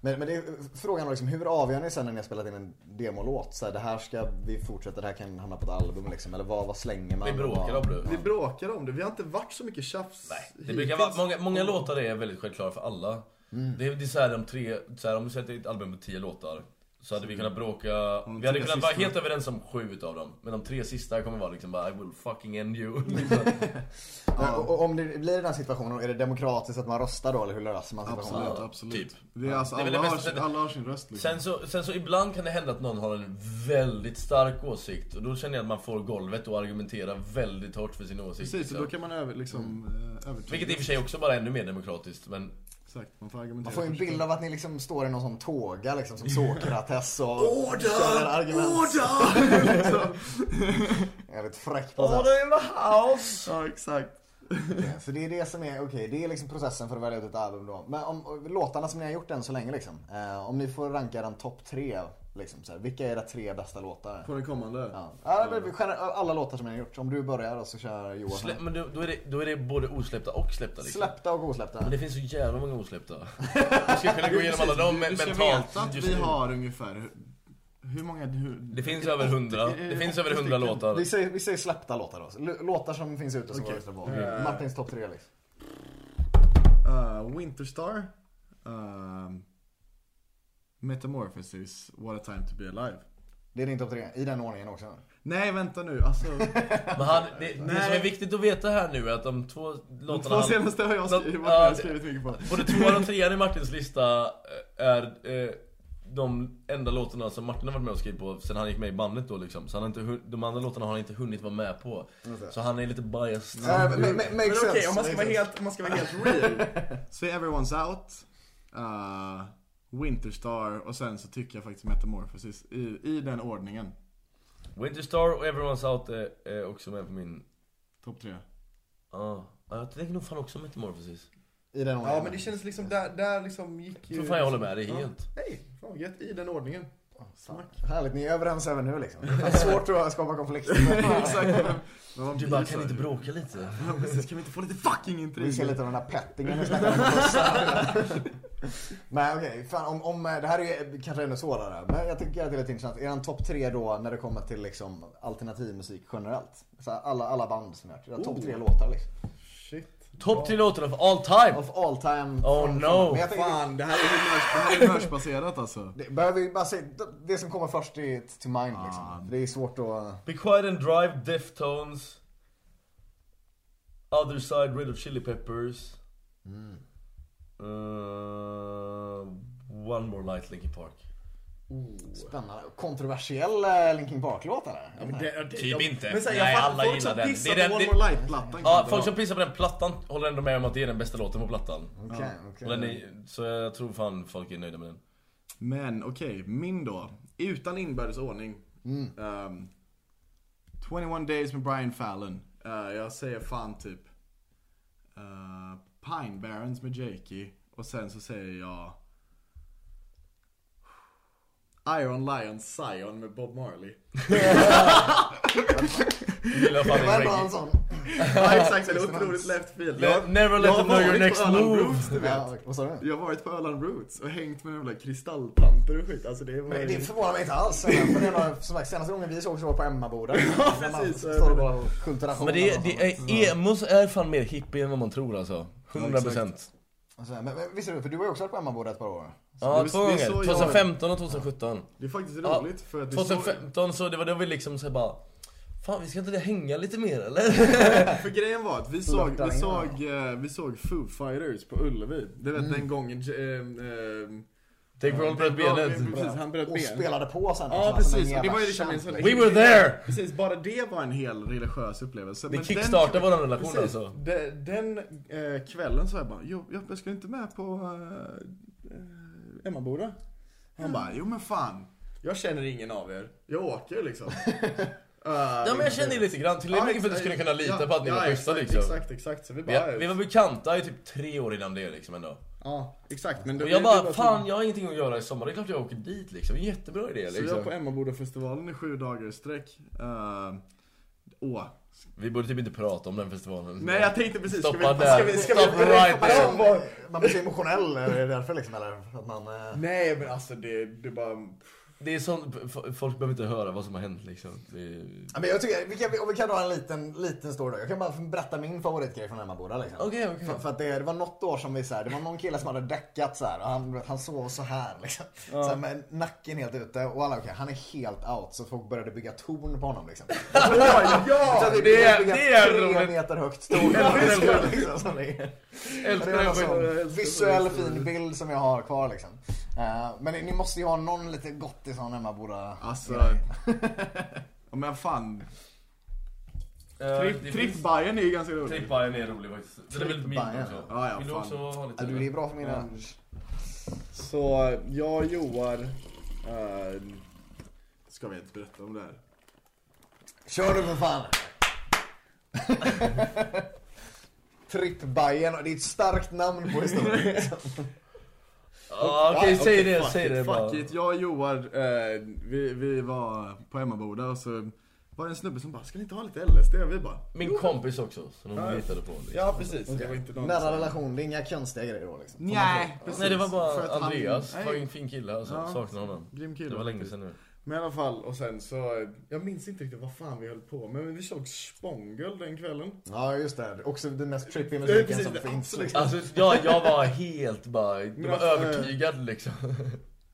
Men, men det är frågan är liksom, hur avgör ni sen när ni har spelat in en demolåt? Så här, det här ska vi fortsätta, det här kan hamna på ett album liksom. Eller vad, vad slänger man? Vi bråkar Vad- om det. Vi bråkar om det, vi har inte varit så mycket tjafs Det brukar vara, många, många låtar är väldigt självklara för alla. Mm. Det, är- det är såhär de tre, så här, om vi sätter ett album med tio låtar. Så hade vi kunnat bråka, vi hade tre kunnat vara sista. helt överens om sju utav dem. Men de tre sista kommer vara liksom bara I will fucking *laughs* end you. Ja, och, och om det blir den här situationen, är det demokratiskt att man röstar då? Eller hur löser man situationen? Absolut, absolut. Typ. Det är alltså, Det är väl alla, det har bästa sin, alla har sin röst liksom. sen, så, sen så ibland kan det hända att någon har en väldigt stark åsikt. Och då känner jag att man får golvet och argumentera väldigt hårt för sin åsikt. Precis, och liksom. då kan man över, liksom, eh, övertyga. Vilket i och för sig också bara är ännu mer demokratiskt. Men Exakt, man får argumentera. Man får ju en först. bild av att ni liksom står i någon sån tåga liksom som Sokrates och kör Order! argument. *laughs* Order! liksom. Jävligt fräckt på sätt. Order in the house! Ja, exakt. Så det är det som är, okej, det är liksom processen för att välja ut ett album då. Men om, om låtarna som ni har gjort än så länge liksom. Eh, om ni får ranka den topp tre, liksom så här, vilka är era tre bästa låtar? På den kommande. Ja. Ja, men vi skär- alla låtar som ni har gjort. Om du börjar då så kör Johan. Slä, men då, då, är det, då är det både osläppta och släppta liksom. Släppta och osläppta. Men det finns så jävla många osläppta. Jag skulle kunna gå igenom alla dem men- Du ska mentalt veta att just vi nu. har ungefär, hur- hur många? Hur, Det finns över hundra. Eh, Det finns över hundra låtar. Vi säger, vi säger släppta låtar då. L- Låtar som finns ute som Okej. går att lyssna på. Martins topp tre liksom. Uh, Winterstar. Uh, Metamorphosis, What a time to be alive. Det är din topp tre, i den ordningen också. Nej, vänta nu. Alltså, *laughs* Men han, det, det som Nej. är viktigt att veta här nu är att de två låtarna... de två han- senaste har jag skrivit, Ja, jag har det- skrivit mycket på. Både tvåan och trean i Martins lista eh, är eh, de enda låtarna som Martin har varit med och skrivit på sen han gick med i bandet då liksom. Så han har inte, hun- de andra låtarna har han inte hunnit vara med på. Så han är lite biased. Mm. men men, men, Men makes okej, sense. liksom. om man ska Makes vara sense. helt, om man ska vara helt real. Så är Everyone's Out, uh, Winterstar och sen så tycker jag faktiskt Metamorphosis i, i den ordningen. Winterstar och Everyone's Out är, är också med på min... Topp tre. Ja, Ja, jag tänker nog fan också Metamorphosis. I den ordningen. känns liksom, där, där liksom gick Jag tror fan jag håller med dig helt. Nej, fan gött, i den ordningen. *laughs* Härligt, ni är överens även nu liksom. Det är svårt att skapa konflikter. Exakt. Men vad Du blir bara, så? kan ni inte bråka lite? Ja, precis, kan vi inte få lite fucking Vi intrig? ser lite av den här pettingen vi snackade om bussar. *laughs* Men okej, fan, om, om, eh, det här är ju kanske ännu svårare. Men jag tycker att det är lite intressant. Är den topp tre då när det kommer till liksom alternativmusik generellt? Så här, alla, alla band som jag Oh. har hört. Topp tre låtar liksom. Shit. Topp tre låtarna för all time! Of all time. Oh, no. Men jag tänker, Fan, det här är humörs- det här är humörsbaserat alltså. Det, behöver vi bara säga, det som kommer först är till mind Ah. liksom. Det är svårt att... Be Quiet and Drive, Deftones Other Side, Red of Chili Peppers Eh, One More Night, Linkin Park Spännande. Kontroversiell eh, Linkin Park-låt eller? Typ inte. Men så här, Nej, jag fattar- alla folk gillar som den. pissar Det är den- på One det- More Light-plattan. Ja, folk som pissar på den plattan håller ändå med om att det är den bästa låten på plattan Okej, Och okej. den är, Så jag tror fan folk är nöjda med den Men okej, min då. Utan inbördes ordning. Ehm, 21 days med Brian Fallon. Eh, jag säger fan typ eh, Pine Barrens med Jakey. Och sen så säger jag Iron Lion Zion med Bob *laughs* Marley. Gillar fan Det var ändå en reggae sån. ja exakt, det är otroligt left field. Let- never let jag har them know your varit på next Öland move. Roots, du vet. Ja, vad sa du? Jag har varit på Öland Roots och hängt med jävla kristalltanter och skit. Alltså det var Men det förvånar mig inte alls. För det var, som sagt, senaste gången vi såg så var på *laughs* Emmaboda. ja, precis. Står och bara och skjuter ration Men det, och det är, emos är fan mer hippie än vad man tror alltså 100% sånt. Så här, Men, men visst är det, för du har ju också varit på Emmaboda ett par år. Ja, Det är två så jag- gånger. 2015 och 2017 Det är faktiskt Ja, roligt för att det är så- 2015 så det var då vi liksom så här bara Fan vi ska inte hänga lite mer eller? För grejen var att vi såg, Luktar vi in. såg, eh, vi såg Foo Fighters på Ullevi. Du vet den gången... eh, eh, Dave Grohl Mm. bröt benet. Precis, han bröt Och benet. spelade på sen. Ja Alltså, också, alltså, som en precis, och det jävla var ju liksom en champ, sån... We were there! Precis, bara det var en hel religiös upplevelse. Det Men kickstartade den- vår relation precis, alltså. de- Den, eh, kvällen så jag bara, jo, jag, jag ska inte med på eh, eh, Emmaboda. Han bara, jo men fan. Jag känner ingen av er. Jag åker *laughs* liksom. Ja men jag kände ju lite grann till er för att du skulle kunna lita på att ni var schyssta eh, exakt, liksom. Exakt, exakt. Så vi Vi, bara... vi var bekanta i typ tre år innan det liksom ändå. Ja, exakt. Men då, Och jag det- det bara, var- fan jag har ingenting att göra i sommar, det är klart jag åker dit liksom. Jättebra idé Så vi var på liksom. Emmabodafestivalen i sju dagar i sträck. Eh, åh. Vi borde typ inte prata om den festivalen. Nej jag tänkte precis, ska vi, Stoppa ska där. vi, ska vi, Stop right alltså, there. man- Man blir så emotionell, är det därför liksom? Eller för att man... eh, Nej men alltså det, det bara... Det är sånt, f- folk behöver inte höra vad som har hänt liksom. Det... Ja, men jag tycker, vi kan, vi- om vi kan dra en liten, liten story då. Jag kan bara berätta min favoritgrej från Emmaboda liksom. Okej, okej. För, för att det, det var något år som vi så här, det var någon kille som hade däckat så här och han, han sov så här liksom. Så här, med nacken helt ute och alla okej, han är helt out så folk började bygga torn på honom *laughs* liksom. ja! så vi det är- bygga det är tre roligt. meter högt torn. älskar liksom, som det är. Älskar Det är en den skiten. sån visuell fin bild som jag har kvar liksom. Eh, Men ni måste ju ha någon lite *laughs* gott i sån Emmaboda Alltså... ja, men fan. Eh, Tripp, Trippbajen är ju ganska rolig. Trippbajen är rolig faktiskt. Den är väldigt mild Trippbajen, också. ja. Ja, ja, Vill du fan. också ha lite? Ja, du, det är bra för mina... Så eh, jag och Joar... eh, ska vi inte berätta om det här? Kör du för fan! Trippbajen, det är ett starkt namn på historien. liksom. Ja, okej, Ja, säg okej, det, fuck säg it, det bara. Fuck it. Jag och Joar, eh, vi, vi var på hemmaboda och så var det en snubbe som bara, ska ni inte ha lite LSD? Och vi bara, Min kompis också, som de litade på. Liksom. ja precis. Det var inte någon Nära relation, det är inga konstiga grejer då liksom. Nej, precis. Nej det var För bara att han- Andreas, Nej. var ju en fin kille alltså, Ja, saknar honom. grym kille. Det var länge sedan nu. Men i alla fall, och sen så, jag minns inte riktigt vad fan vi höll på med, men vi såg Spångel den kvällen. Ja just det, också den mest trippy Det är musiken precis som det, finns. liksom. absolut. Alltså jag, jag var helt bara, jag var alltså, övertygad *laughs* liksom.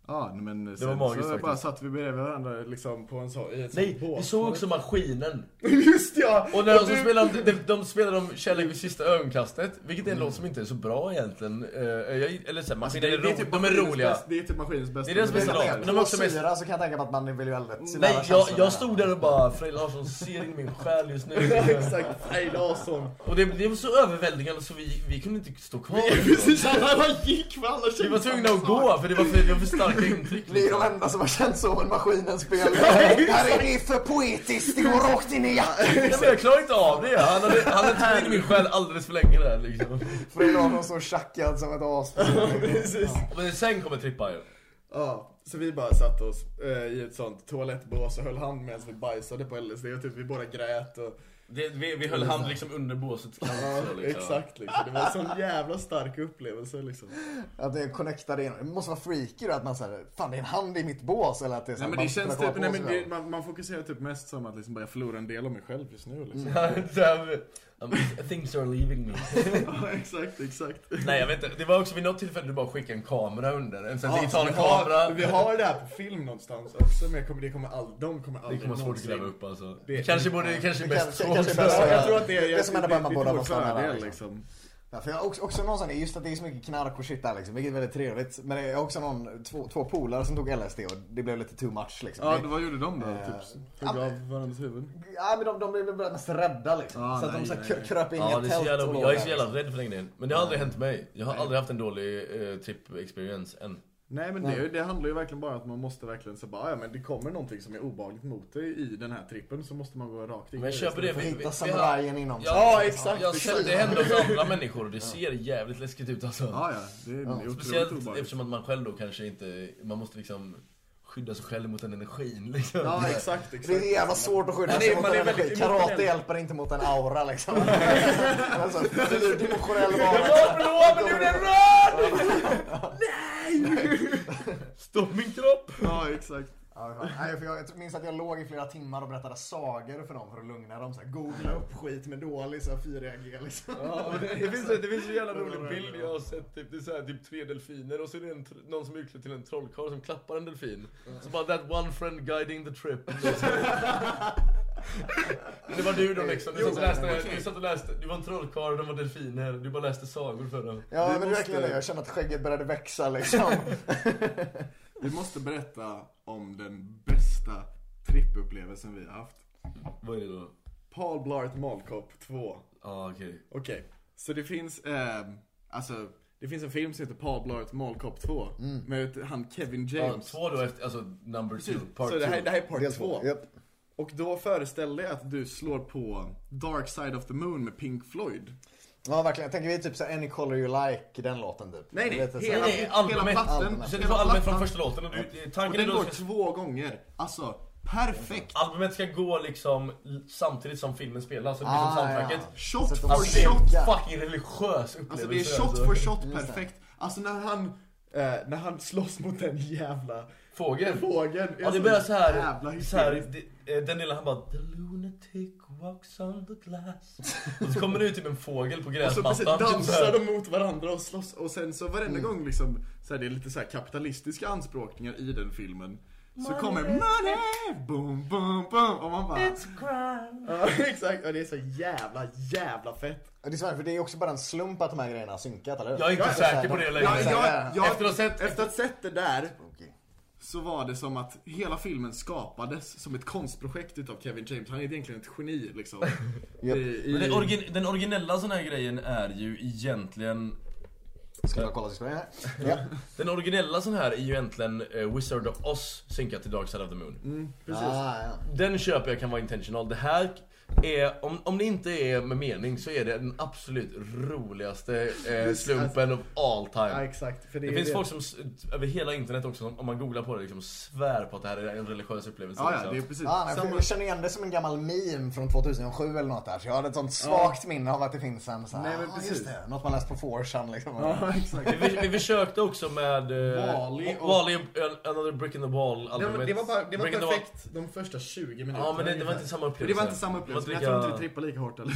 Ja, nej, men sen var magiskt så faktiskt. bara satt vi bredvid varandra liksom på en så, i ett sånt Nej, bås. vi såg också maskinen. *laughs* Just ja! Och när de, du- Mm. så spelade, de, de spelade om Kärlek vid sista ögonkastet, vilket är en låt som inte är så bra egentligen. Eh, jag, eller Alltså, såhär, maskinen är, ro, de är typ maskinens roliga. bäst- Det är typ maskinens bästa. Det är deras bästa låt, men de är också mest Fyra så kan jag tänka mig att man vill ju väldigt sina Nej, jag, känslor där. jag stod där och bara Frej Larsson ser in i min själ just nu. *laughs* Ja, exakt. Frej *laughs* Larsson. Och det, det var så överväldigande så vi, vi kunde inte stå kvar. Precis, alla gick för alla Vi var tvungna att gå för det var för, det var för starka intryck. liksom. Ni är de enda som har känt så med maskinens spel. Här är det för poetiskt, det går rakt in i hjärtat. Nej, men jag klarar inte av det. Han hade, han hade tagit in i min själ alldeles för länge där *laughs* liksom. Frej Larsson står tjackad som ett as. *laughs* Precis. Men sen kommer trippa ju. Ja, så vi bara satt oss eh, i ett sånt toalettbås och höll hand medan vi bajsade på LSD och typ vi båda grät och... Det, vi, vi höll hand liksom under båsets kant. Ja, så, liksom. exakt *laughs* liksom. Det var en sån jävla stark upplevelse liksom. Att det connectar in. Det måste vara freaky då att man säger fan det är en hand i mitt bås. Eller att det är så här, Nej men man det känns drar typ, på nej, sig men det, det. man, man fokuserar typ mest som att liksom bara jag förlorar en del av mig själv just nu liksom. Så här, um, Things are leaving me. Ja, *laughs* exakt, exakt. Nej jag vet inte, det var också vid något tillfälle du bara skickade en kamera under. En sån här digital vi, kamera. har, vi har det här på film någonstans också men jag kommer, det kommer all, de kommer Det aldrig kommer vara svårt att någonsin- gräva upp alltså. Det- kanske borde, kanske Det bäst kan- så. kanske också. är bäst så, Ja, jag tror att det är, Det är som händer bara man det- båda det är måste vår stanna där, fördel, liksom. liksom. Ja, för jag har också, också någon sån, här- just att det är så mycket knark och shit där liksom, vilket är väldigt trevligt. Men jag har också någon, två, två polare som tog LSD och det blev lite too much liksom. Ja, det, vad gjorde de då? Eh, Typ, ja, hugga men- av varandras huvuden? ja, men de, de blev väl mest rädda liksom. Ah, så att nej, de så här, nej, kr- nej. kröp in i Ja, ett det är så tält jävla, och låg jag är där, så jävla liksom. rädd för den grejen. Men det har aldrig hänt mig. Jag har aldrig haft en dålig eh, trip experience än. Nej men det, det handlar ju verkligen bara om att man måste verkligen så bara, ja men det kommer någonting som är obehagligt mot dig i den här trippen så måste man gå rakt in Men jag i köper det. Får hitta har- samurajen inom sig. Ja, Ja, exakt, Jag, exakt. ser- det händer hos andra människor och det ser jävligt läskigt ut alltså. Ja, ja. Det är otroligt Speciellt obehagligt. eftersom att man själv då kanske inte, man måste liksom skydda sig själv mot den energin liksom. Ja, exakt, Det är exakt. jävla svårt att skydda Nej, sig nej, mot man en är energi. väldigt Karate emotionell. hjälper inte mot en aura *laughs* liksom. alltså, fyrdimensionell Vad varelse. bra, men nu är det röd! Nej! Stopp min kropp! Ja, exakt. Ja, fan. Nej, för jag, jag minns att jag låg i flera timmar och berättade sagor för dem för att lugna dem. Så här, googla upp skit med dålig så här 4G liksom. Det finns, det finns en jävla rolig bild jag har sett, typ, det är så här, typ tre delfiner och så är det en, tr- någon som är utklädd till en trollkarl som klappar en delfin. Så bara that one friend guiding the trip. Men det var du då liksom, du satt och läste, du, satt och läste, du var en trollkarl och de var delfiner, du bara läste sagor för dem. Ja, Vi men det är måste- verkligen det. Jag kände att skägget började växa *laughs* liksom. Vi måste berätta om den bästa trippupplevelsen vi har haft. Vad är det då? Paul Blart Mallcop 2. Ja ah, okej. Okej, så det finns, eh, alltså, det finns en film som heter Paul Blart Mallcop 2. Med han Kevin Ja, James. två då efter, alltså number two, Precis. part så det här, two. det här är part Del två. två, japp. Och då föreställde jag att du slår på Dark Side of the Moon med Pink Floyd. Ja, verkligen. Jag tänker vi är typ så här, Any Color You Like, den låten typ. Nej, nej, Lite så här- hela- Nej, nej, albumet. plattan. Albumet. Så det Hela var albumet från plattan. första låten och du, Och tanken är den då går att du ska- två gånger. Alltså, perfekt! Albumet ska gå liksom l- samtidigt som filmen spelas, så det blir Ah, som soundtracket. Alltså, ja. Shot Sätt dem for på Det är shot! en fucking religiös upplevelse. Alltså det är shot for shot perfekt. Alltså när han, eh, när han slåss mot den jävla Fågeln. fågeln. Ja, det så börjar Alltså, så jävla här, så här hysteriskt. det, eh, den delen han bara The lunatic walks on the glass. *laughs* Och så kommer det ut typ en fågel på Och så gräsmattan. Alltså, precis typ så här. Mm. dansar de mot varandra och slåss och sen så varenda gång liksom så här, det är lite så här kapitalistiska anspråkningar i den filmen Så kommer money, boom, boom, boom och man bara It's crime Ja *laughs* exakt och det är så jävla jävla fett Det är svårt, för det är också bara en slump att de här grejerna har synkat, eller hur? Jag är inte så här, säker på de- det längre. Alltså, jag, jag, jag, Efter att ha sett- efter att ha sett det där Okej. så var det som att hela filmen skapades som ett konstprojekt utav Kevin James. Han är egentligen ett geni *laughs* liksom. I- Men i- den, origin- den originella sån här grejen är ju egentligen... Ska jag kolla så ska jag... Ja. Den originella sån här är ju egentligen eh, Wizard of Oz synkat till Dark Side of the Moon. Mm. Precis. Ah, ja. Den köper jag kan vara intentional. Det här är, om, om det inte är med mening så är det den absolut roligaste eh, slumpen of all Ja, time. exakt. För det, Det, är finns det. folk som s- över hela internet också, som, om man googlar på det, liksom svär på att det här är en religiös upplevelse. Ja, ja, liksom. det är precis. Ja, nej, för samma, jag känner igen det som en gammal meme från 2007 eller något där. Så jag hade ett sånt svagt minne av att det finns en sån här, Nej, men "Ah, precis. just det, något man läst på 4chan liksom. ja, *laughs* exakt. vi, vi försökte också med... Eh, Wall-E och- Wall-E, an- Another Brick in the Wall Det albumet. var, det var, bara, det var Brick in the Wall- perfekt de första 20 minuterna. Ja men det, det var ungefär. inte samma Men upplevelse. det var inte samma Det var upplevelse, men jag tror inte lika- det trippade lika hårt eller?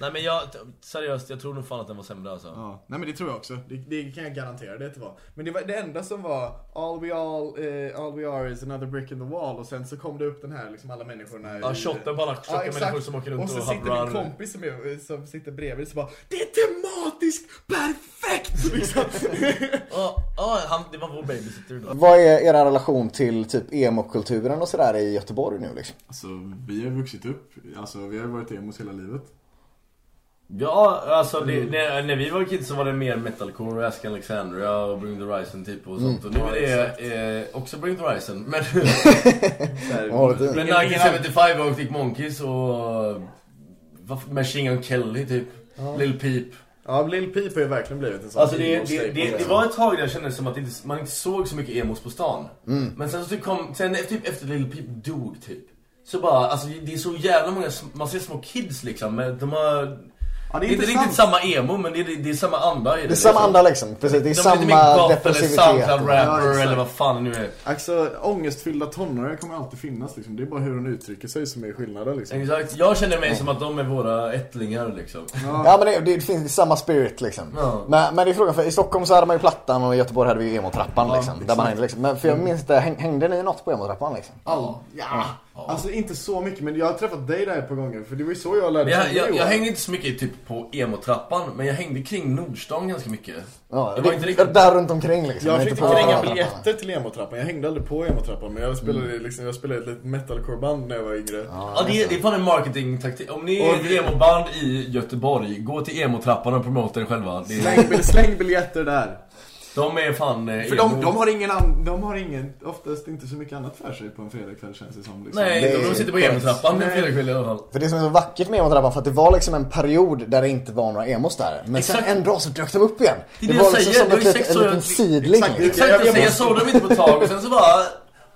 Nej men jag, t- seriöst, jag tror nog fan att den var sämre alltså. Ja, nej men det tror jag också. Det, det kan jag garantera det att det var. Men det var det enda som var All we, all, eh, all we are is another brick in the wall och sen så kom det upp den här liksom alla människorna. Ja, i- shotten på alla tjocka exakt. människor som åker runt och så och har sitter min brand. kompis som, är, som sitter bredvid så bara Det är tematiskt perfekt! *laughs* *laughs* Liksom. Ja, ja, han- det var vår babysitter då. Vad är er relation till typ emo-kulturen och sådär i Göteborg nu liksom? alltså vi har vuxit upp, alltså vi har varit emos hela livet. Ja, alltså det, när, när vi var kids så var det mer metalcore och Ask Alexandria och Bring the Horizon typ och sånt. Och nu är det eh, också Bring the Horizon. Men... har du till? men Nike 75 och Arctic Monkeys och... Vad, Machine Gun Kelly typ. Lil Peep. Ja, Lil Peep har ju verkligen blivit en sån Alltså det, det, emo-staple. det, det var ett tag där jag kände som att det inte, man inte såg så mycket emos på stan. Mm. Men sen så typ kom, sen typ efter Lil Peep dog typ. Så bara, alltså det är så jävla många, sm- man ser små kids liksom, men de har... Ja, det är inte riktigt samma emo men det är, det är samma anda i det. Det är samma liksom. anda liksom, precis. Det är De lite mer samma goth eller depressivitet. Ja, Soundcloud-rapper exakt. eller vad fan det nu är. Alltså ångestfyllda tonåringar kommer alltid finnas liksom. Det är bara hur de uttrycker sig som är skillnaden liksom. Exakt. Jag känner mig som att de är våra ättlingar liksom. Ja men det, det finns det är samma spirit liksom. Ja. Men, men det är frågan, för i Stockholm så hade man ju Plattan och i Göteborg hade vi ju emotrappan liksom. Där man hängde, liksom. Men för jag minns inte, häng, hängde ni något på emotrappan liksom? All, ja. Alltså inte så mycket, men jag har träffat dig där ett par gånger. För det var ju så jag lärde Jag, känna dig, jag, jag Johan. hängde inte så mycket typ på emo-trappan, men jag hängde kring Nordstan ganska mycket. Ja, det det- var inte riktigt... Där runt omkring liksom. Jag men försökte inte på- kränga biljetter till emotrappan. Jag hängde aldrig på emotrappan, men jag spelade, liksom, jag spelade ett litet metalcore-band när jag var yngre. Mm. Ja, det, är, det är fan en marketingtaktik. Om ni är ett emo-band i Göteborg, gå till emo-trappan och promota er själva. Det är, Släng, bil- släng biljetter där. de är fan eh, För emo. de, de har ingen, an, de har ingen, oftast inte så mycket annat för sig på en fredagkväll känns det som. Liksom. Nej, Det de är- sitter på emo-trappan en fredagkväll i alla fall. För det som är så vackert med emotrappan för att det var liksom en period där det inte var några emos där. Men Exakt. sen en dag så dök de upp igen. Det Det, är det var jag liksom säger, som det ett var litet- sex en år- liten sidling. liksom. Exakt, jag, jag, jag såg dem inte på ett tag och sen så bara...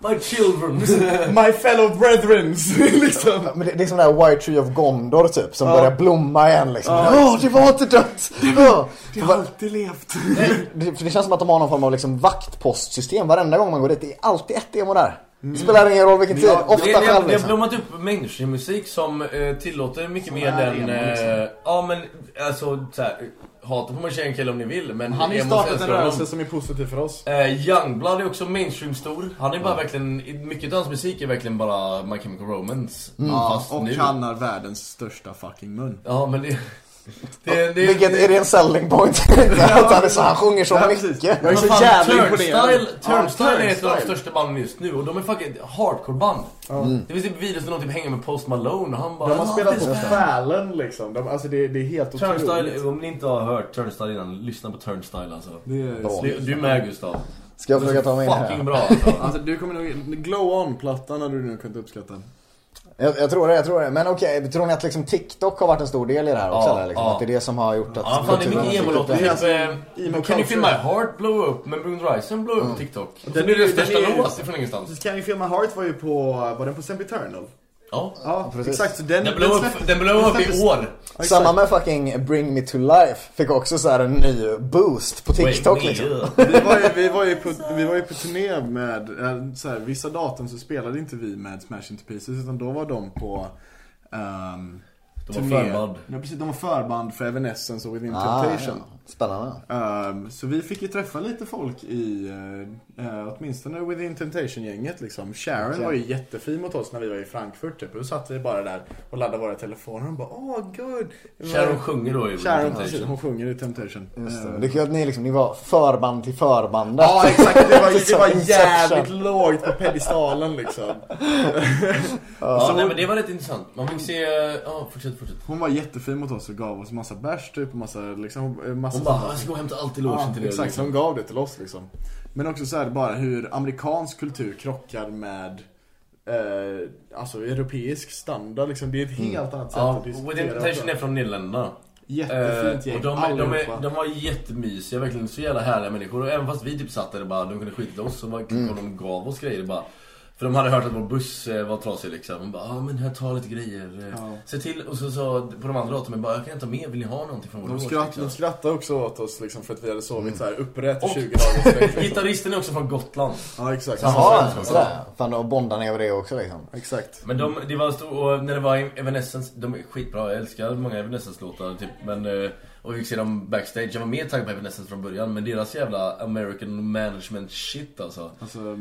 My *laughs* children. My fellow brethrens! *laughs* liksom. Men det, det är som det här White Tree of Gondor typ som börjar blomma igen liksom. Åh, det var inte dött! Ja. Jag har alltid levt. Det, för det känns som att de har någon form av liksom vaktpostsystem varenda gång man går dit. Det är alltid ett emo där. Det spelar ingen roll vilken tid, ofta Mm. Det, det, själv det har liksom. blommat upp människomusik som eh, tillåter mycket mer är den... emo, liksom. Eh, ja men alltså såhär, hata på mig tjejen kille om ni vill men... Han har ju emos startat älskar en honom. rörelse som är positiv för oss. Eh, Youngblood är också mainstream-stor. Han är bara verkligen, mycket av hans musik är verkligen bara My Chemical Romance. Fast Och nu. han har världens största fucking mun. Ja men det... det, det Vilket, är det en selling point? *laughs* att han, är så, han sjunger så Ja, precis. mycket. Jag är så Vad fan, jävla Turnstyle, imponerad. Turnstyle Ja, är ett av de Turnstyle. största banden just nu och de är fucking hardcore-band. Det finns typ videos där de typ hänger med Post Malone och han bara... De har "Ah, spelat this på band." Fälen liksom. De, alltså det, det är helt Turnstyle, om ni inte har hört Turnstyle innan, lyssna på Turnstyle alltså. Det är Bra. Du, du är med Gustav. Ska jag försöka ta mig in Fucking här? bra alltså. *laughs* Alltså du kommer nog... Glow On-plattan hade du nog kunnat uppskatta. Jag, jag tror det, jag tror det. Men okej, tror ni att liksom TikTok har varit en stor del i det här också? Ja, eller, liksom, ja. Att det är det som har gjort att... Ja, fan det är mycket kulturen- emo-låtar. Det är Typ, alltså eh, emo Can you feel my culture. heart blow up med Brun Ryson blow up på TikTok. Och Den sen är är det ju- största den är ju- låt ifrån ingenstans. Can you feel my heart var ju på... Var den på Sempiternal? Ja. Ja, precis. exakt. Så den... Den blow släpptes- up, den blow up släpptes- i år. Ja, exakt. Samma med fucking Bring Me To Life fick också så här en ny boost på TikTok Wait, liksom. yeah. Vi var, ju, *laughs* vi, var ju på, vi var ju på turné med, eh, så här, vissa datum så spelade inte vi med Smash Into Pieces utan då var de på ehm, De var förband. Ja, precis, de var förband för Evanescence och Within Ah, Temptation. ja. Spännande. Ehm, så vi fick ju träffa lite folk i, eh, eh, åtminstone Within Temptation-gänget liksom. Sharon var ju jättefin mot oss när vi var i Frankfurt typ. Då satt vi bara där och laddade våra telefoner och bara åh gud. Sharon sjunger då i Within Sharon, Temptation. precis, hon sjunger i Temptation. Just Ehm, det. Det är kul att ni, liksom, ni var förband till förbandet. Ja exakt, det *laughs* Typ var, det Som var Inception. jävligt lågt på pedestalen liksom. Ja, Så nej, hon- men det var rätt intressant. Man fick se... eh, Ja, fortsätt, fortsätt. Hon var jättefin mot oss och gav oss massa bärs typ och massa liksom, eh, massa Hon bara, "Ah, jag ska gå och hämta allt i logen Ja, till er. exakt, liksom. som gav det till oss liksom. Men också så här bara hur amerikansk kultur krockar med eh, alltså europeisk standard liksom. Det är ett helt annat sätt Ja, att Within diskutera. Temptation är från Nederländerna. Jättefint Eh, gäng, och de, är- de, allihopa. är, de var jättemysiga, verkligen så jävla härliga människor. Och även fast vi typ satt där och bara, de kunde skita i oss, så var det mm. de gav oss grejer bara. För de hade hört att vår buss eh, var trasig liksom. De bara, ah, men här tar lite grejer. Ja. Se till, och så sa på de andra datumen bara, jag kan inte ha med, vill ni ha någonting från vår De, lås?" skratt, liksom. de skrattade också åt oss liksom, för att vi hade sovit så här upprätt i Och- 20 dagar straight, liksom. Gitarristen är också från Gotland. Ja exakt. Jaha, sådär. Fan, och bondade ni över det också liksom. Exakt. Men de, det var stor, och när det var Evanescence, de är skitbra, jag älskar många Evanescence-låtar typ men eh, och vi fick se dem backstage, jag var mer taggad på Evanescence från början men deras jävla American management shit alltså.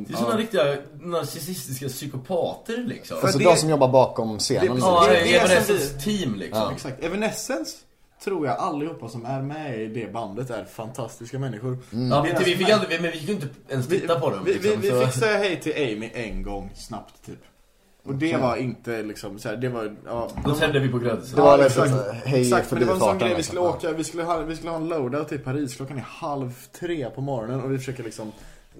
det är såna riktiga narcissistiska psykopater liksom. Alltså det- de som jobbar bakom scenen. Det- ja, liksom. det- det, det är alltså- som Evanescence team liksom. Exakt. Evanescence tror jag allihopa som är med i det bandet är fantastiska människor. Ja, men, typ, vi fick aldrig, men vi fick ju inte ens titta på dem. Vi, vi, Mm. liksom, vi så- fick säga hej till Amy en gång snabbt typ. Och det var inte liksom så här, det var... Ja, Då tände vi på gränsen. Det var Ja, lite exakt. så här, hej Exakt, men det var en sån förbifarten, grej. Vi liksom. skulle, åka, vi, skulle ha, vi skulle ha en loadout i Paris. Klockan är halv tre på morgonen och vi försöker liksom...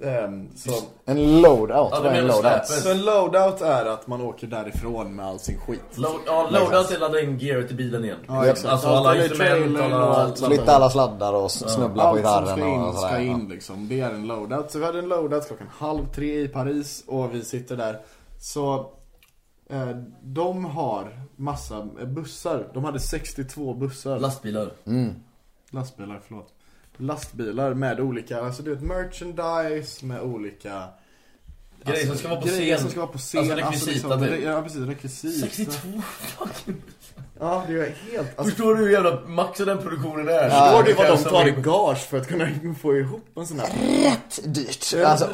ehm, så, En loadout. Ja, Vad de är en menar loadout? släpet. så en loadout är att man åker därifrån med all sin skit. Load- Ja, loadout är ladda in gearet i bilen igen. exakt. Alltså Allt alla är instrument, trailer alla... och allt. allt. Flytta alla sladdar och s- snubbla på Allt som ska gitarren in och ska sådär. in liksom. Det är en loadout. Så vi hade en loadout klockan halv tre i Paris och vi sitter där. Så eh, de har massa eh, bussar. De hade 62 bussar. Lastbilar. Lastbilar, förlåt. Lastbilar med olika, alltså du vet merchandise med olika Grejer som ska vara på grejer scen. Alltså, som ska vara på scen. Alltså rekvisita liksom, typ. re- Ja precis, rekvisita. 62 fucking... Ja, det är helt... Alltså, Förstår du hur jävla max den produktionen är? förstår du vad de tar i gage för att kunna *laughs* få ihop en sån här? Rätt dyrt. Alltså,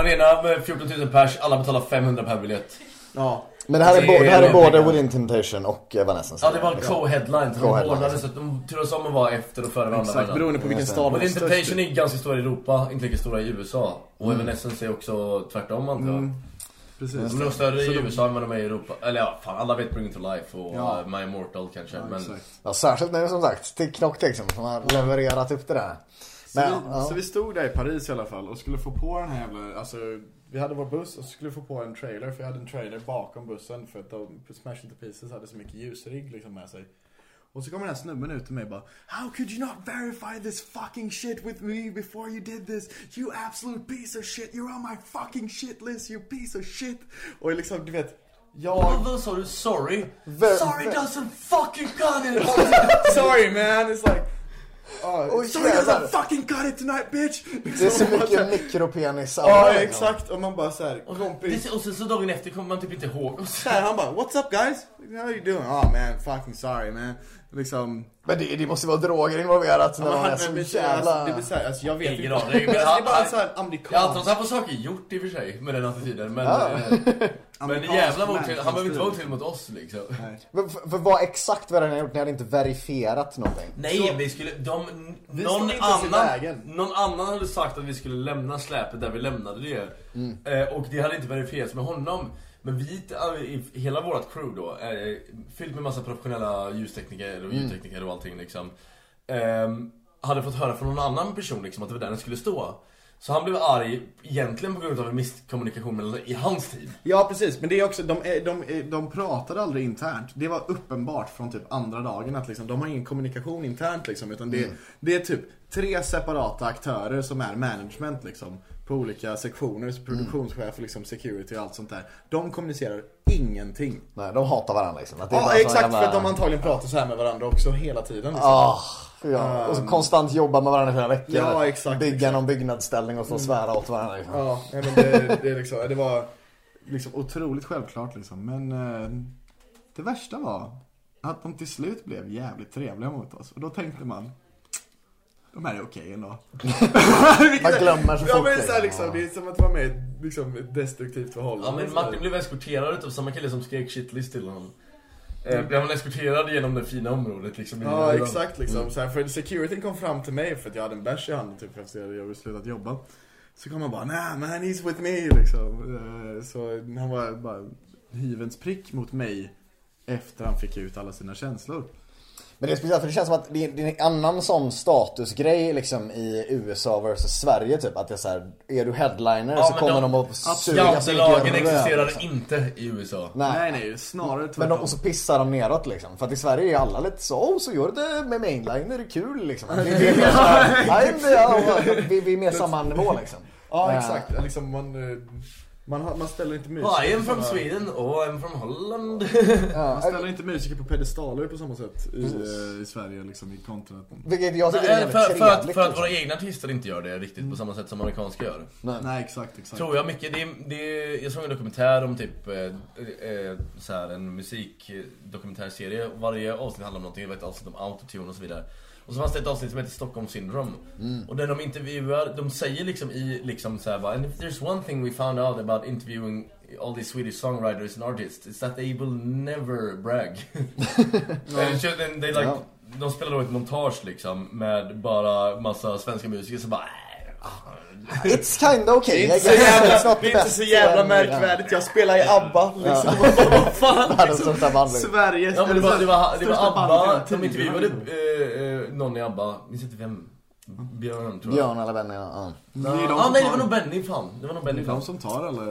Arena med 14 000 pers, alla betalar 500 per biljett. Ja. men det här Det Alltså, är, är bo- det här är de både pengarna. Within Temptation och eh, Evanescence. Ja, det var en co-headline. Så de Co-headline. ordnade så att de turades om att vara efter och före varandra. Exakt, varandra. beroende på vilken stad Och de är störst Mm. i. Temptation är ganska stora i Europa, inte lika stora i USA. Och Evanescence är också tvärtom antar Mm, jag. Precis. De är större i USA än vad de är i Europa. Eller ja, fan alla vet Bring It To Life och eh, My Immortal kanske. men exakt. Ja, särskilt nu som sagt. Till Knock liksom, som har levererat upp det där. Men, så, vi, ja. så vi stod där i Paris i alla fall och skulle få på den här jävla, alltså vi hade vår buss och så skulle vi få på en trailer för jag hade en trailer bakom bussen för att de, Smash Into Pieces hade så mycket ljusrigg liksom med sig. Och så kommer den här snubben ut till mig och bara How could you not verify this fucking shit with me before you did this? You absolute piece of shit, you're on my fucking shit list, you piece of shit! Och liksom du vet, jag... Och då sa du sorry? Ver- sorry doesn't fucking got it! *laughs* Oh, Sorry man, it's like... Uh, Oj, sorry doesn't jävlar. fucking got it tonight bitch! Det är så Liksom, mycket mikropenis. Ja exakt, och man bara såhär, kompis. Det- Och sen så dagen efter kommer man typ inte ihåg. Och så- Så här, han bara What's up guys? How you doing? Oh man, fucking sorry man. Liksom. Men det, det måste vara droger involverat när man han, är så men, jävla... alltså, det blir så här, alltså, jag vet Ingen inte. aning, men det är bara han- så här Jag antar att amerikanskt. han får saker gjort i och för sig med den attityden. Men, eh, men Amerikansk jävla vad otrevlig. människostil. Han behöver inte vara otrevlig mot oss liksom. Nej, Men För, för vad exakt vad den har gjort? Ni hade inte verifierat någonting. vi skulle... De, stod någon, inte ens i annan, vägen. någon annan hade sagt att vi skulle lämna släpet där vi lämnade det. Mm. Eh, och det hade inte verifierats med honom. Men vi, eh, i- hela vårt crew då, eh, fyllt med massa professionella ljustekniker Mm. och ljudtekniker och allting liksom. ehm, hade fått höra från någon annan person liksom att det var där den skulle stå. Så han blev arg egentligen på grund av en misskommunikation mellan- i hans team. Ja precis, men det är också, de, är- de, är- de pratade aldrig internt. Det var uppenbart från typ andra dagen att liksom, de har ingen kommunikation internt liksom. Utan det, Mm. det är typ tre separata aktörer som är management liksom. På olika sektioner, så produktionschefer, liksom, security och allt sånt där. De kommunicerar ingenting. Nej, de hatar varandra liksom. Att det är bara Ja sån exakt, jävla- för att de antagligen pratar så här med varandra också hela tiden. Liksom. Ah, ja. Och så konstant jobba med varandra i flera veckor. Um. Ja, exakt, Bygga exakt. Mm. någon byggnadsställning och så svära åt varandra. Liksom. Ja, nej, men det, det, är liksom, det var liksom otroligt självklart liksom. Men eh, det värsta var att de till slut blev jävligt trevliga mot oss. Och då tänkte man, de här är okej ändå. Man glömmer så ja, fort. men så liksom. här, liksom, Det är som att vara med i ett, liksom, ett destruktivt förhållande. Ja men Martin blev eskorterad utav samma kille som skrek shitlist till honom. Mm. Eh, blev han eskorterad genom det fina området liksom. i Ja, Nyland. exakt liksom. Så här, för securityn kom fram till mig för att jag hade en bärs i handen typ efter att jag hade slutat jobba. Så kom han bara, nah man he's with me liksom. Eh, Så han var bara hyvens prick mot mig efter han fick ut alla sina känslor. Men det är speciellt för det känns som att det är, det är en annan sån statusgrej liksom i USA versus Sverige typ. Att det är så här, är du headliner Ja, så men kommer de- de att suga sig Jantelagen röv, existerar liksom. inte i USA. Nej. Nej nej, snarare tvärtom. Men de, och så pissar de neråt liksom. För att i Sverige är alla lite så, oh, så gör det med mainliner, det är kul liksom. Det är, det är mer så här, nej, men, ja, vi, vi är mer samma nivå liksom. Ja Eh, exakt, liksom man, eh, man, har- man ställer inte Oh, I musiker, am på from samma- Sweden, oh I'm from Holland. man ställer inte musiker på pedestaler på samma sätt i, eh, i Sverige liksom i kontra. Vilket jag tycker är Nej, jävligt *laughs* för, för, att, trevligt, för att liksom. våra egna artister inte gör det riktigt på samma sätt som amerikanska gör. Nej exakt, exakt. Tror jag mycket. Det, är- det, är- jag såg en dokumentär om typ eh, eh, så här, en musikdokumentärserie. Varje avsnitt handlar om någonting. Det var ett avsnitt om autotune och så vidare. Och så fanns det ett avsnitt som heter Stockholm syndrome. Och där de intervjuar, de säger liksom i liksom så här bara, And if there's one thing we found out about interviewing all these Swedish songwriters and artists is that they will never brag. *laughs* And it's just- and they like, De spelar då ett montage liksom med bara massa svenska musiker som bara "Äh, liksom. It's kinda okay. Det är inte så jävla, det är inte så jävla märkvärdigt, jag spelar i ABBA *laughs* liksom. Vad fan Världens största band liksom. Sveriges Ja men det var, det var, det var största ABBA, bandet genom de tiderna, intervjuade liksom. eh, eh, någon i ABBA, minns inte vem, Björn tror jag. Björn eller Benny, ja. Det är ju de ah, som nej det var tar- nog Benny fan, det var nog det Benny är fan. de som tar alla...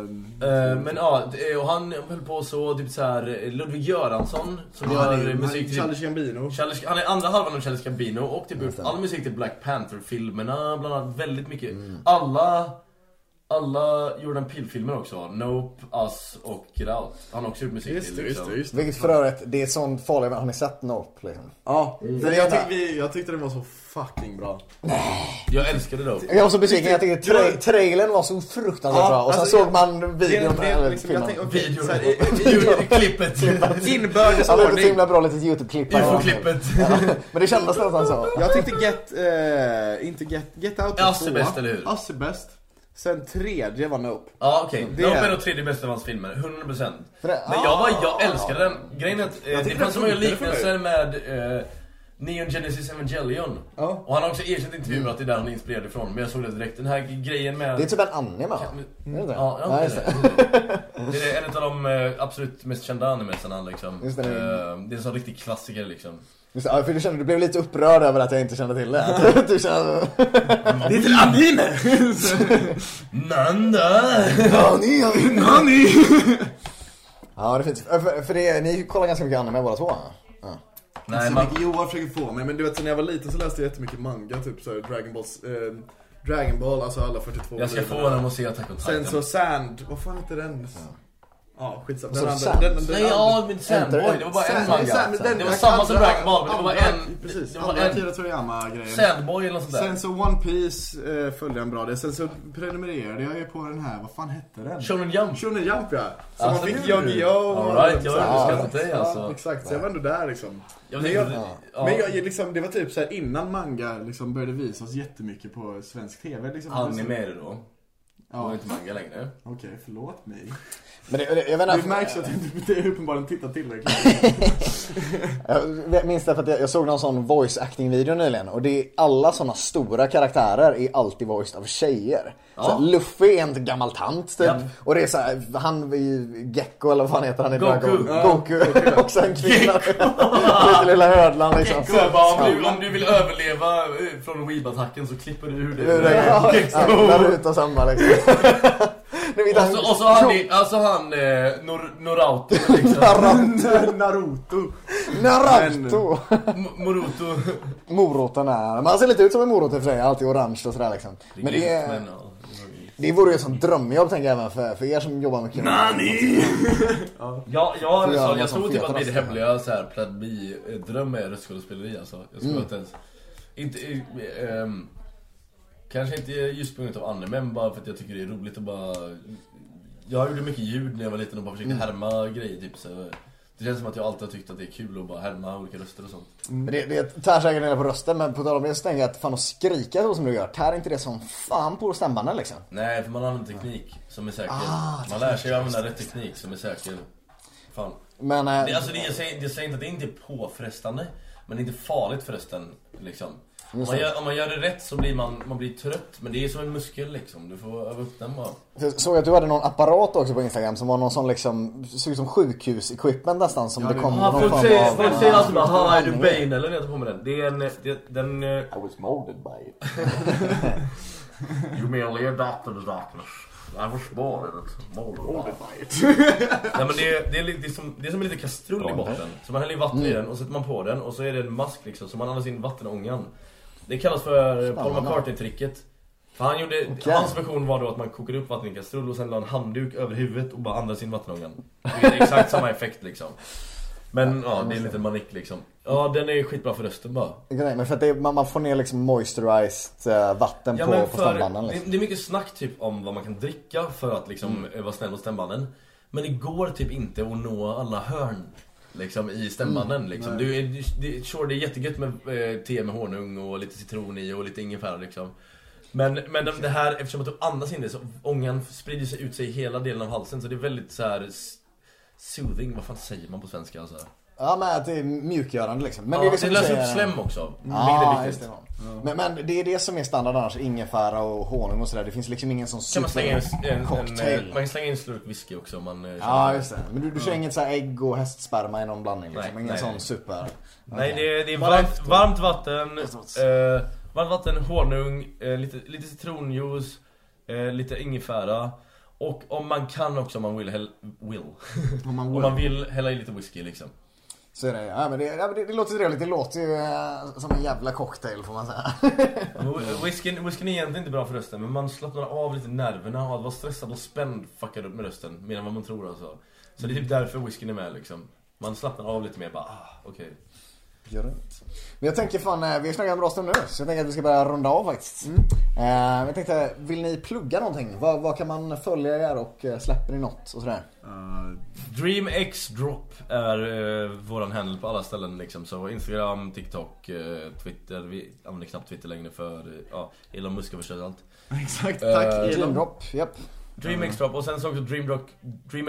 Eh, men ja, det- och han höll på så, typ såhär, Ludvig Göransson som han gör är- eh, han är musik till... Charlie Gambino. Charles, han är andra halvan av Charles Gambino och typ gjort all musik till Black Panther-filmerna, bland annat väldigt mycket. Mm. Alla, alla Jordan Peele-filmer också, har. Nope, Us och Get Out. Han har också gjort musik Just till liksom. det, just det, just det. Vilket för övrigt, det är sånt farligt, har ni sett Nope liksom? Ja, men jag, tyck, vi, jag tyckte den var så fucking bra. Jag älskade Nope. Mm. Jag var så besviken, jag tyckte tra- trailern var så fruktansvärt bra och sen alltså, såg jag- man Det är- videon, det är eller liksom- jag filmen. tänker, okej, Videon, så här, i- *laughs* ljud i *laughs* klippet. Inbördes Han lade ett ordning. himla bra litet YouTube-klipp. här. UFO-klippet. Men det kändes nästan så. Jag tyckte Get, eh, inte Get, Get Out var Asse tvåa. bäst, eller hur? Asse bäst. Sen tredje var Nope. Ja okej, Det- Nope är nog tredje bästa av hans filmer, 100% det- Ah. Men jag var, jag älskade den, grejen är att eh, det tyckte fanns så den många funkade för liknelser med eh, Neon Genesis Evangelion Och han har också erkänt i intervjuer att det är där han är inspirerad ifrån, men jag såg det direkt, den här grejen med Det är typ en anime va? Mm. Är det det? Ja, ja, Nej, det, just är det. *laughs* det är en av de eh, absolut mest kända animesarna liksom. Just det. Eh, det är en sån riktig klassiker liksom Just det, ja, för du, kände, du blev lite upprörd över att jag inte kände till det. *laughs* Du kände... Det är till anime! *laughs* *laughs* Nanda! Nani, jag vill- Nani! Ja, det är fint. För, för det, ni kollar ganska mycket anime båda två. Ja. Nej, så man, mycket Johan försöker få mig, men du vet så när jag var liten så läste jag jättemycket manga, typ så här, Dragon Balls, eh, Dragon Ball, alltså alla 42 jag ska få volymerna. honom att se Attack on Titan Sen så Sand, vad fan heter den? Ja, skitsamma. Så Den andra, Sand? den, den, den Nej, ja, men Sandboy, det var bara en manga. det var samma som Dragon Ball, men det var en... Precis, det var andra en Akira Toriyama-grejen. Sandboy eller något sånt där. Sen så One Piece eh, följde en bra del. Sen så prenumererade jag ju på den här, vad fan hette den? Shonen Jump. Shonen Jump ja. Så Alltså, man fick du. Yu-Gi-Oh! och- All right, jag Ja, har exakt. underskattat dig Ja, alltså. Exakt, så jag var ändå där liksom. Jag men vet jag, inte, ja. men jag, liksom, det var typ så här innan manga liksom började visas jättemycket på svensk TV. Liksom. Anime är det då. Det var Ja. inte manga längre. Okej, förlåt mig. Men det, det, jag vet Det inte, märks att jag inte uppenbarligen tittar tillräckligt. *laughs* Äh, jag minns det för att jag, jag såg någon sån voice acting video nyligen och det är alla såna stora karaktärer är alltid voiced av tjejer. Så här, Luffy är en gammal tant typ. Ja. Och det är så här, han är ju Gecko eller vad han heter han i Goku. Dragon Ja. Goku. *laughs* Också en kvinna. *laughs* Lite lilla hödlan liksom. Så jag bara, om, du, om du vill överleva eh, från Weeb-attacken så klipper du ur Ja, det. Naruto samma liksom. *laughs* Nu vet Och så, och så han, i- alltså han eh, Nor, Norauto liksom. Naruto. Naruto. Naruto! M- Moruto. Moroten är, men han ser lite ut som en morot i och för sig, alltid orange och sådär liksom. Men det, är, Men, ja, det det vore ju ett sånt drömjobb tänker jag även för, för er som jobbar med kul. var- Ja, ja, Får jag, göra jag, något jag som tror typ att min fetaste. hemliga så här, Plan B-dröm är röstskådespeleri alltså. Jag skulle inte ens... Inte, eh, ehm, kanske inte just på grund av anime, men bara för att jag tycker det är Mm. roligt att bara... Jag gjorde mycket ljud när jag var liten och bara försökte härma grejer typ så. Det känns som att jag alltid har tyckt att det är kul att bara härma olika röster och sånt. Men det, det tär säkert ner på rösten men på tal om det så tänker jag att fan att skrika så som du gör, tär inte det som fan på stämbanden liksom? Nej, för man använder teknik som är säker. man lär sig att använda rätt Ah, teknik som är säker. Fan. Men, eh, Det, alltså, det, jag, säger, jag säger inte att det inte är påfrestande, men det är inte farligt för rösten. Liksom. Om, man gör, om man gör det rätt så blir man, man blir trött, men det är som en muskel liksom. Du får öva upp den bara. Jag såg att du hade någon apparat också på Instagram som var någon sån liksom, såg ut som sjukhus-equipment nästan som det kom någon folk form säger, av- folk säger alltid bara "Ha, är du Bane eller när jag tar på mig den. Det är en, det, den... eh, I was molded by it. *laughs* You merely adopted the darkness. I was born in it. Molded by it. *laughs* Nej men det är, det, är, li- det, är som, det är som en liten kastrull i botten. Så man häller i vatten i Mm. den och sätter man på den och så är det en mask liksom. Så man andas in vattenångan. Det kallas för eh, Paul McCartney-tricket. För han gjorde, hans version var då att man kokade upp vatten i en kastrull och sen la en handduk över huvudet och bara andades in vattenångan. *laughs* Vilket är exakt samma effekt liksom. Men ja, det är lite manick liksom. Ja, den är skitbra för rösten bara. Nej, men för att det, är- man, man får ner liksom moisturized eh, vatten Ja, på, men på för- stämbanden liksom. det, det är mycket snack typ om vad man kan dricka för att liksom eh, vara snäll mot stämbanden. Men det går typ inte att nå alla hörn liksom, i stämbanden. Mm. liksom. du, är- du, det, sure, det är jättegött med eh, te med honung och lite citron i och lite ingefära liksom. Men, men de- det här, eftersom att du andas in det så ångan sprider sig ut sig i hela delen av halsen så det är väldigt så här s- soothing, vad fan säger man på svenska alltså? Ja men att det är mjukgörande liksom. Men Men det är ja, liksom det löser upp slem också, vilket Ja, är just viktigt. det. Men, men det är det som är standard annars, ingefära och honung och sådär. Det finns liksom ingen sån Kan man, slänga in, Typ en, en, supercocktail. en, man kan slänga in en slurk whisky också om man eh, känner Ja för just det. Men du, du kör inget så här ägg och hästsperma i någon blandning liksom. Nej, ingen nej, sån nej. super... Nej det är, det är varmt, varmt vatten, eh, varmt vatten, honung, eh, lite, lite citronjuice, eh, lite ingefära och om man kan också om man vill, häll, will. *laughs* Om, man vill. hälla i lite whisky liksom. Så är det. Ja, men det, ja, men det, det låter trevligt. Det låter ju eh, som en jävla cocktail får man säga. *laughs* Wh- Whiskyn, whiskyn är egentligen inte bra för rösten men man slappnar av lite nerverna och att vara stressad och spänd fuckar upp med rösten mer än vad man tror alltså. Så det är typ därför whiskyn är med liksom. Man slappnar av lite mer bara, ah, okej. Gör det inte. Men jag tänker fan, eh, vi har snackat en bra stund nu så jag tänker att vi ska börja runda av faktiskt. Eh, men jag tänkte, vill ni plugga någonting? Vad, vad kan man följa er och eh, släpper ni något och sådär? Dream X Drop är eh, våran handle på alla ställen liksom. Så Instagram, TikTok, eh, Twitter. Vi använder knappt Twitter längre för eh, ja, Elon Musk har förstört allt. Exakt, Eh, tack Elon. Dreamdrop, japp. Dream X Drop och sen så också DreamDrock,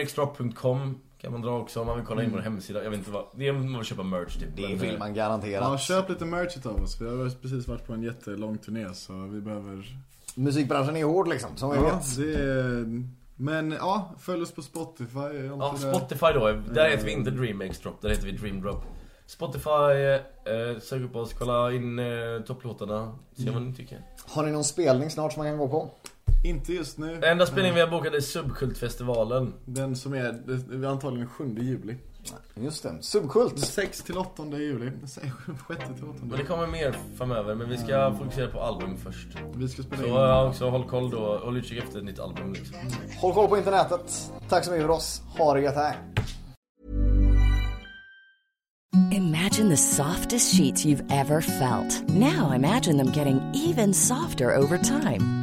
DreamXDrop.com kan man dra också om man vill kolla in vår hemsida. Jag vet inte vad, det är om man vill köpa merch typ. Det men, vill eh, man Ja, garanterat. köp lite merch utav oss. Vi har precis varit på en jättelång turné så vi behöver... Musikbranschen är hård liksom, som vi Ja, vet. det är... Men ja, följ oss på Spotify. alltid Ja, där. Spotify då. Där heter vi inte Dream X Drop, där heter vi Dream Drop. Spotify, eh, sök upp oss, kolla in eh, topplåtarna, se vad ni tycker. Har ni någon spelning snart som man kan gå på? Inte just nu. Enda spelningen vi har bokat är Subkultfestivalen. Den som är det är antagligen 7 juli. Just det, Subkult. 6 till 8 juli. 6 till 8 Men det juli. kommer mer framöver, men vi ska fokusera på album först. Vi ska spela Så in. ja, också håll koll då, håll utkik efter ett nytt album liksom. Håll koll på internetet. Tack så mycket för oss. Ha det gött här. Imagine the softest sheets you've ever felt. Now imagine them getting even softer over time.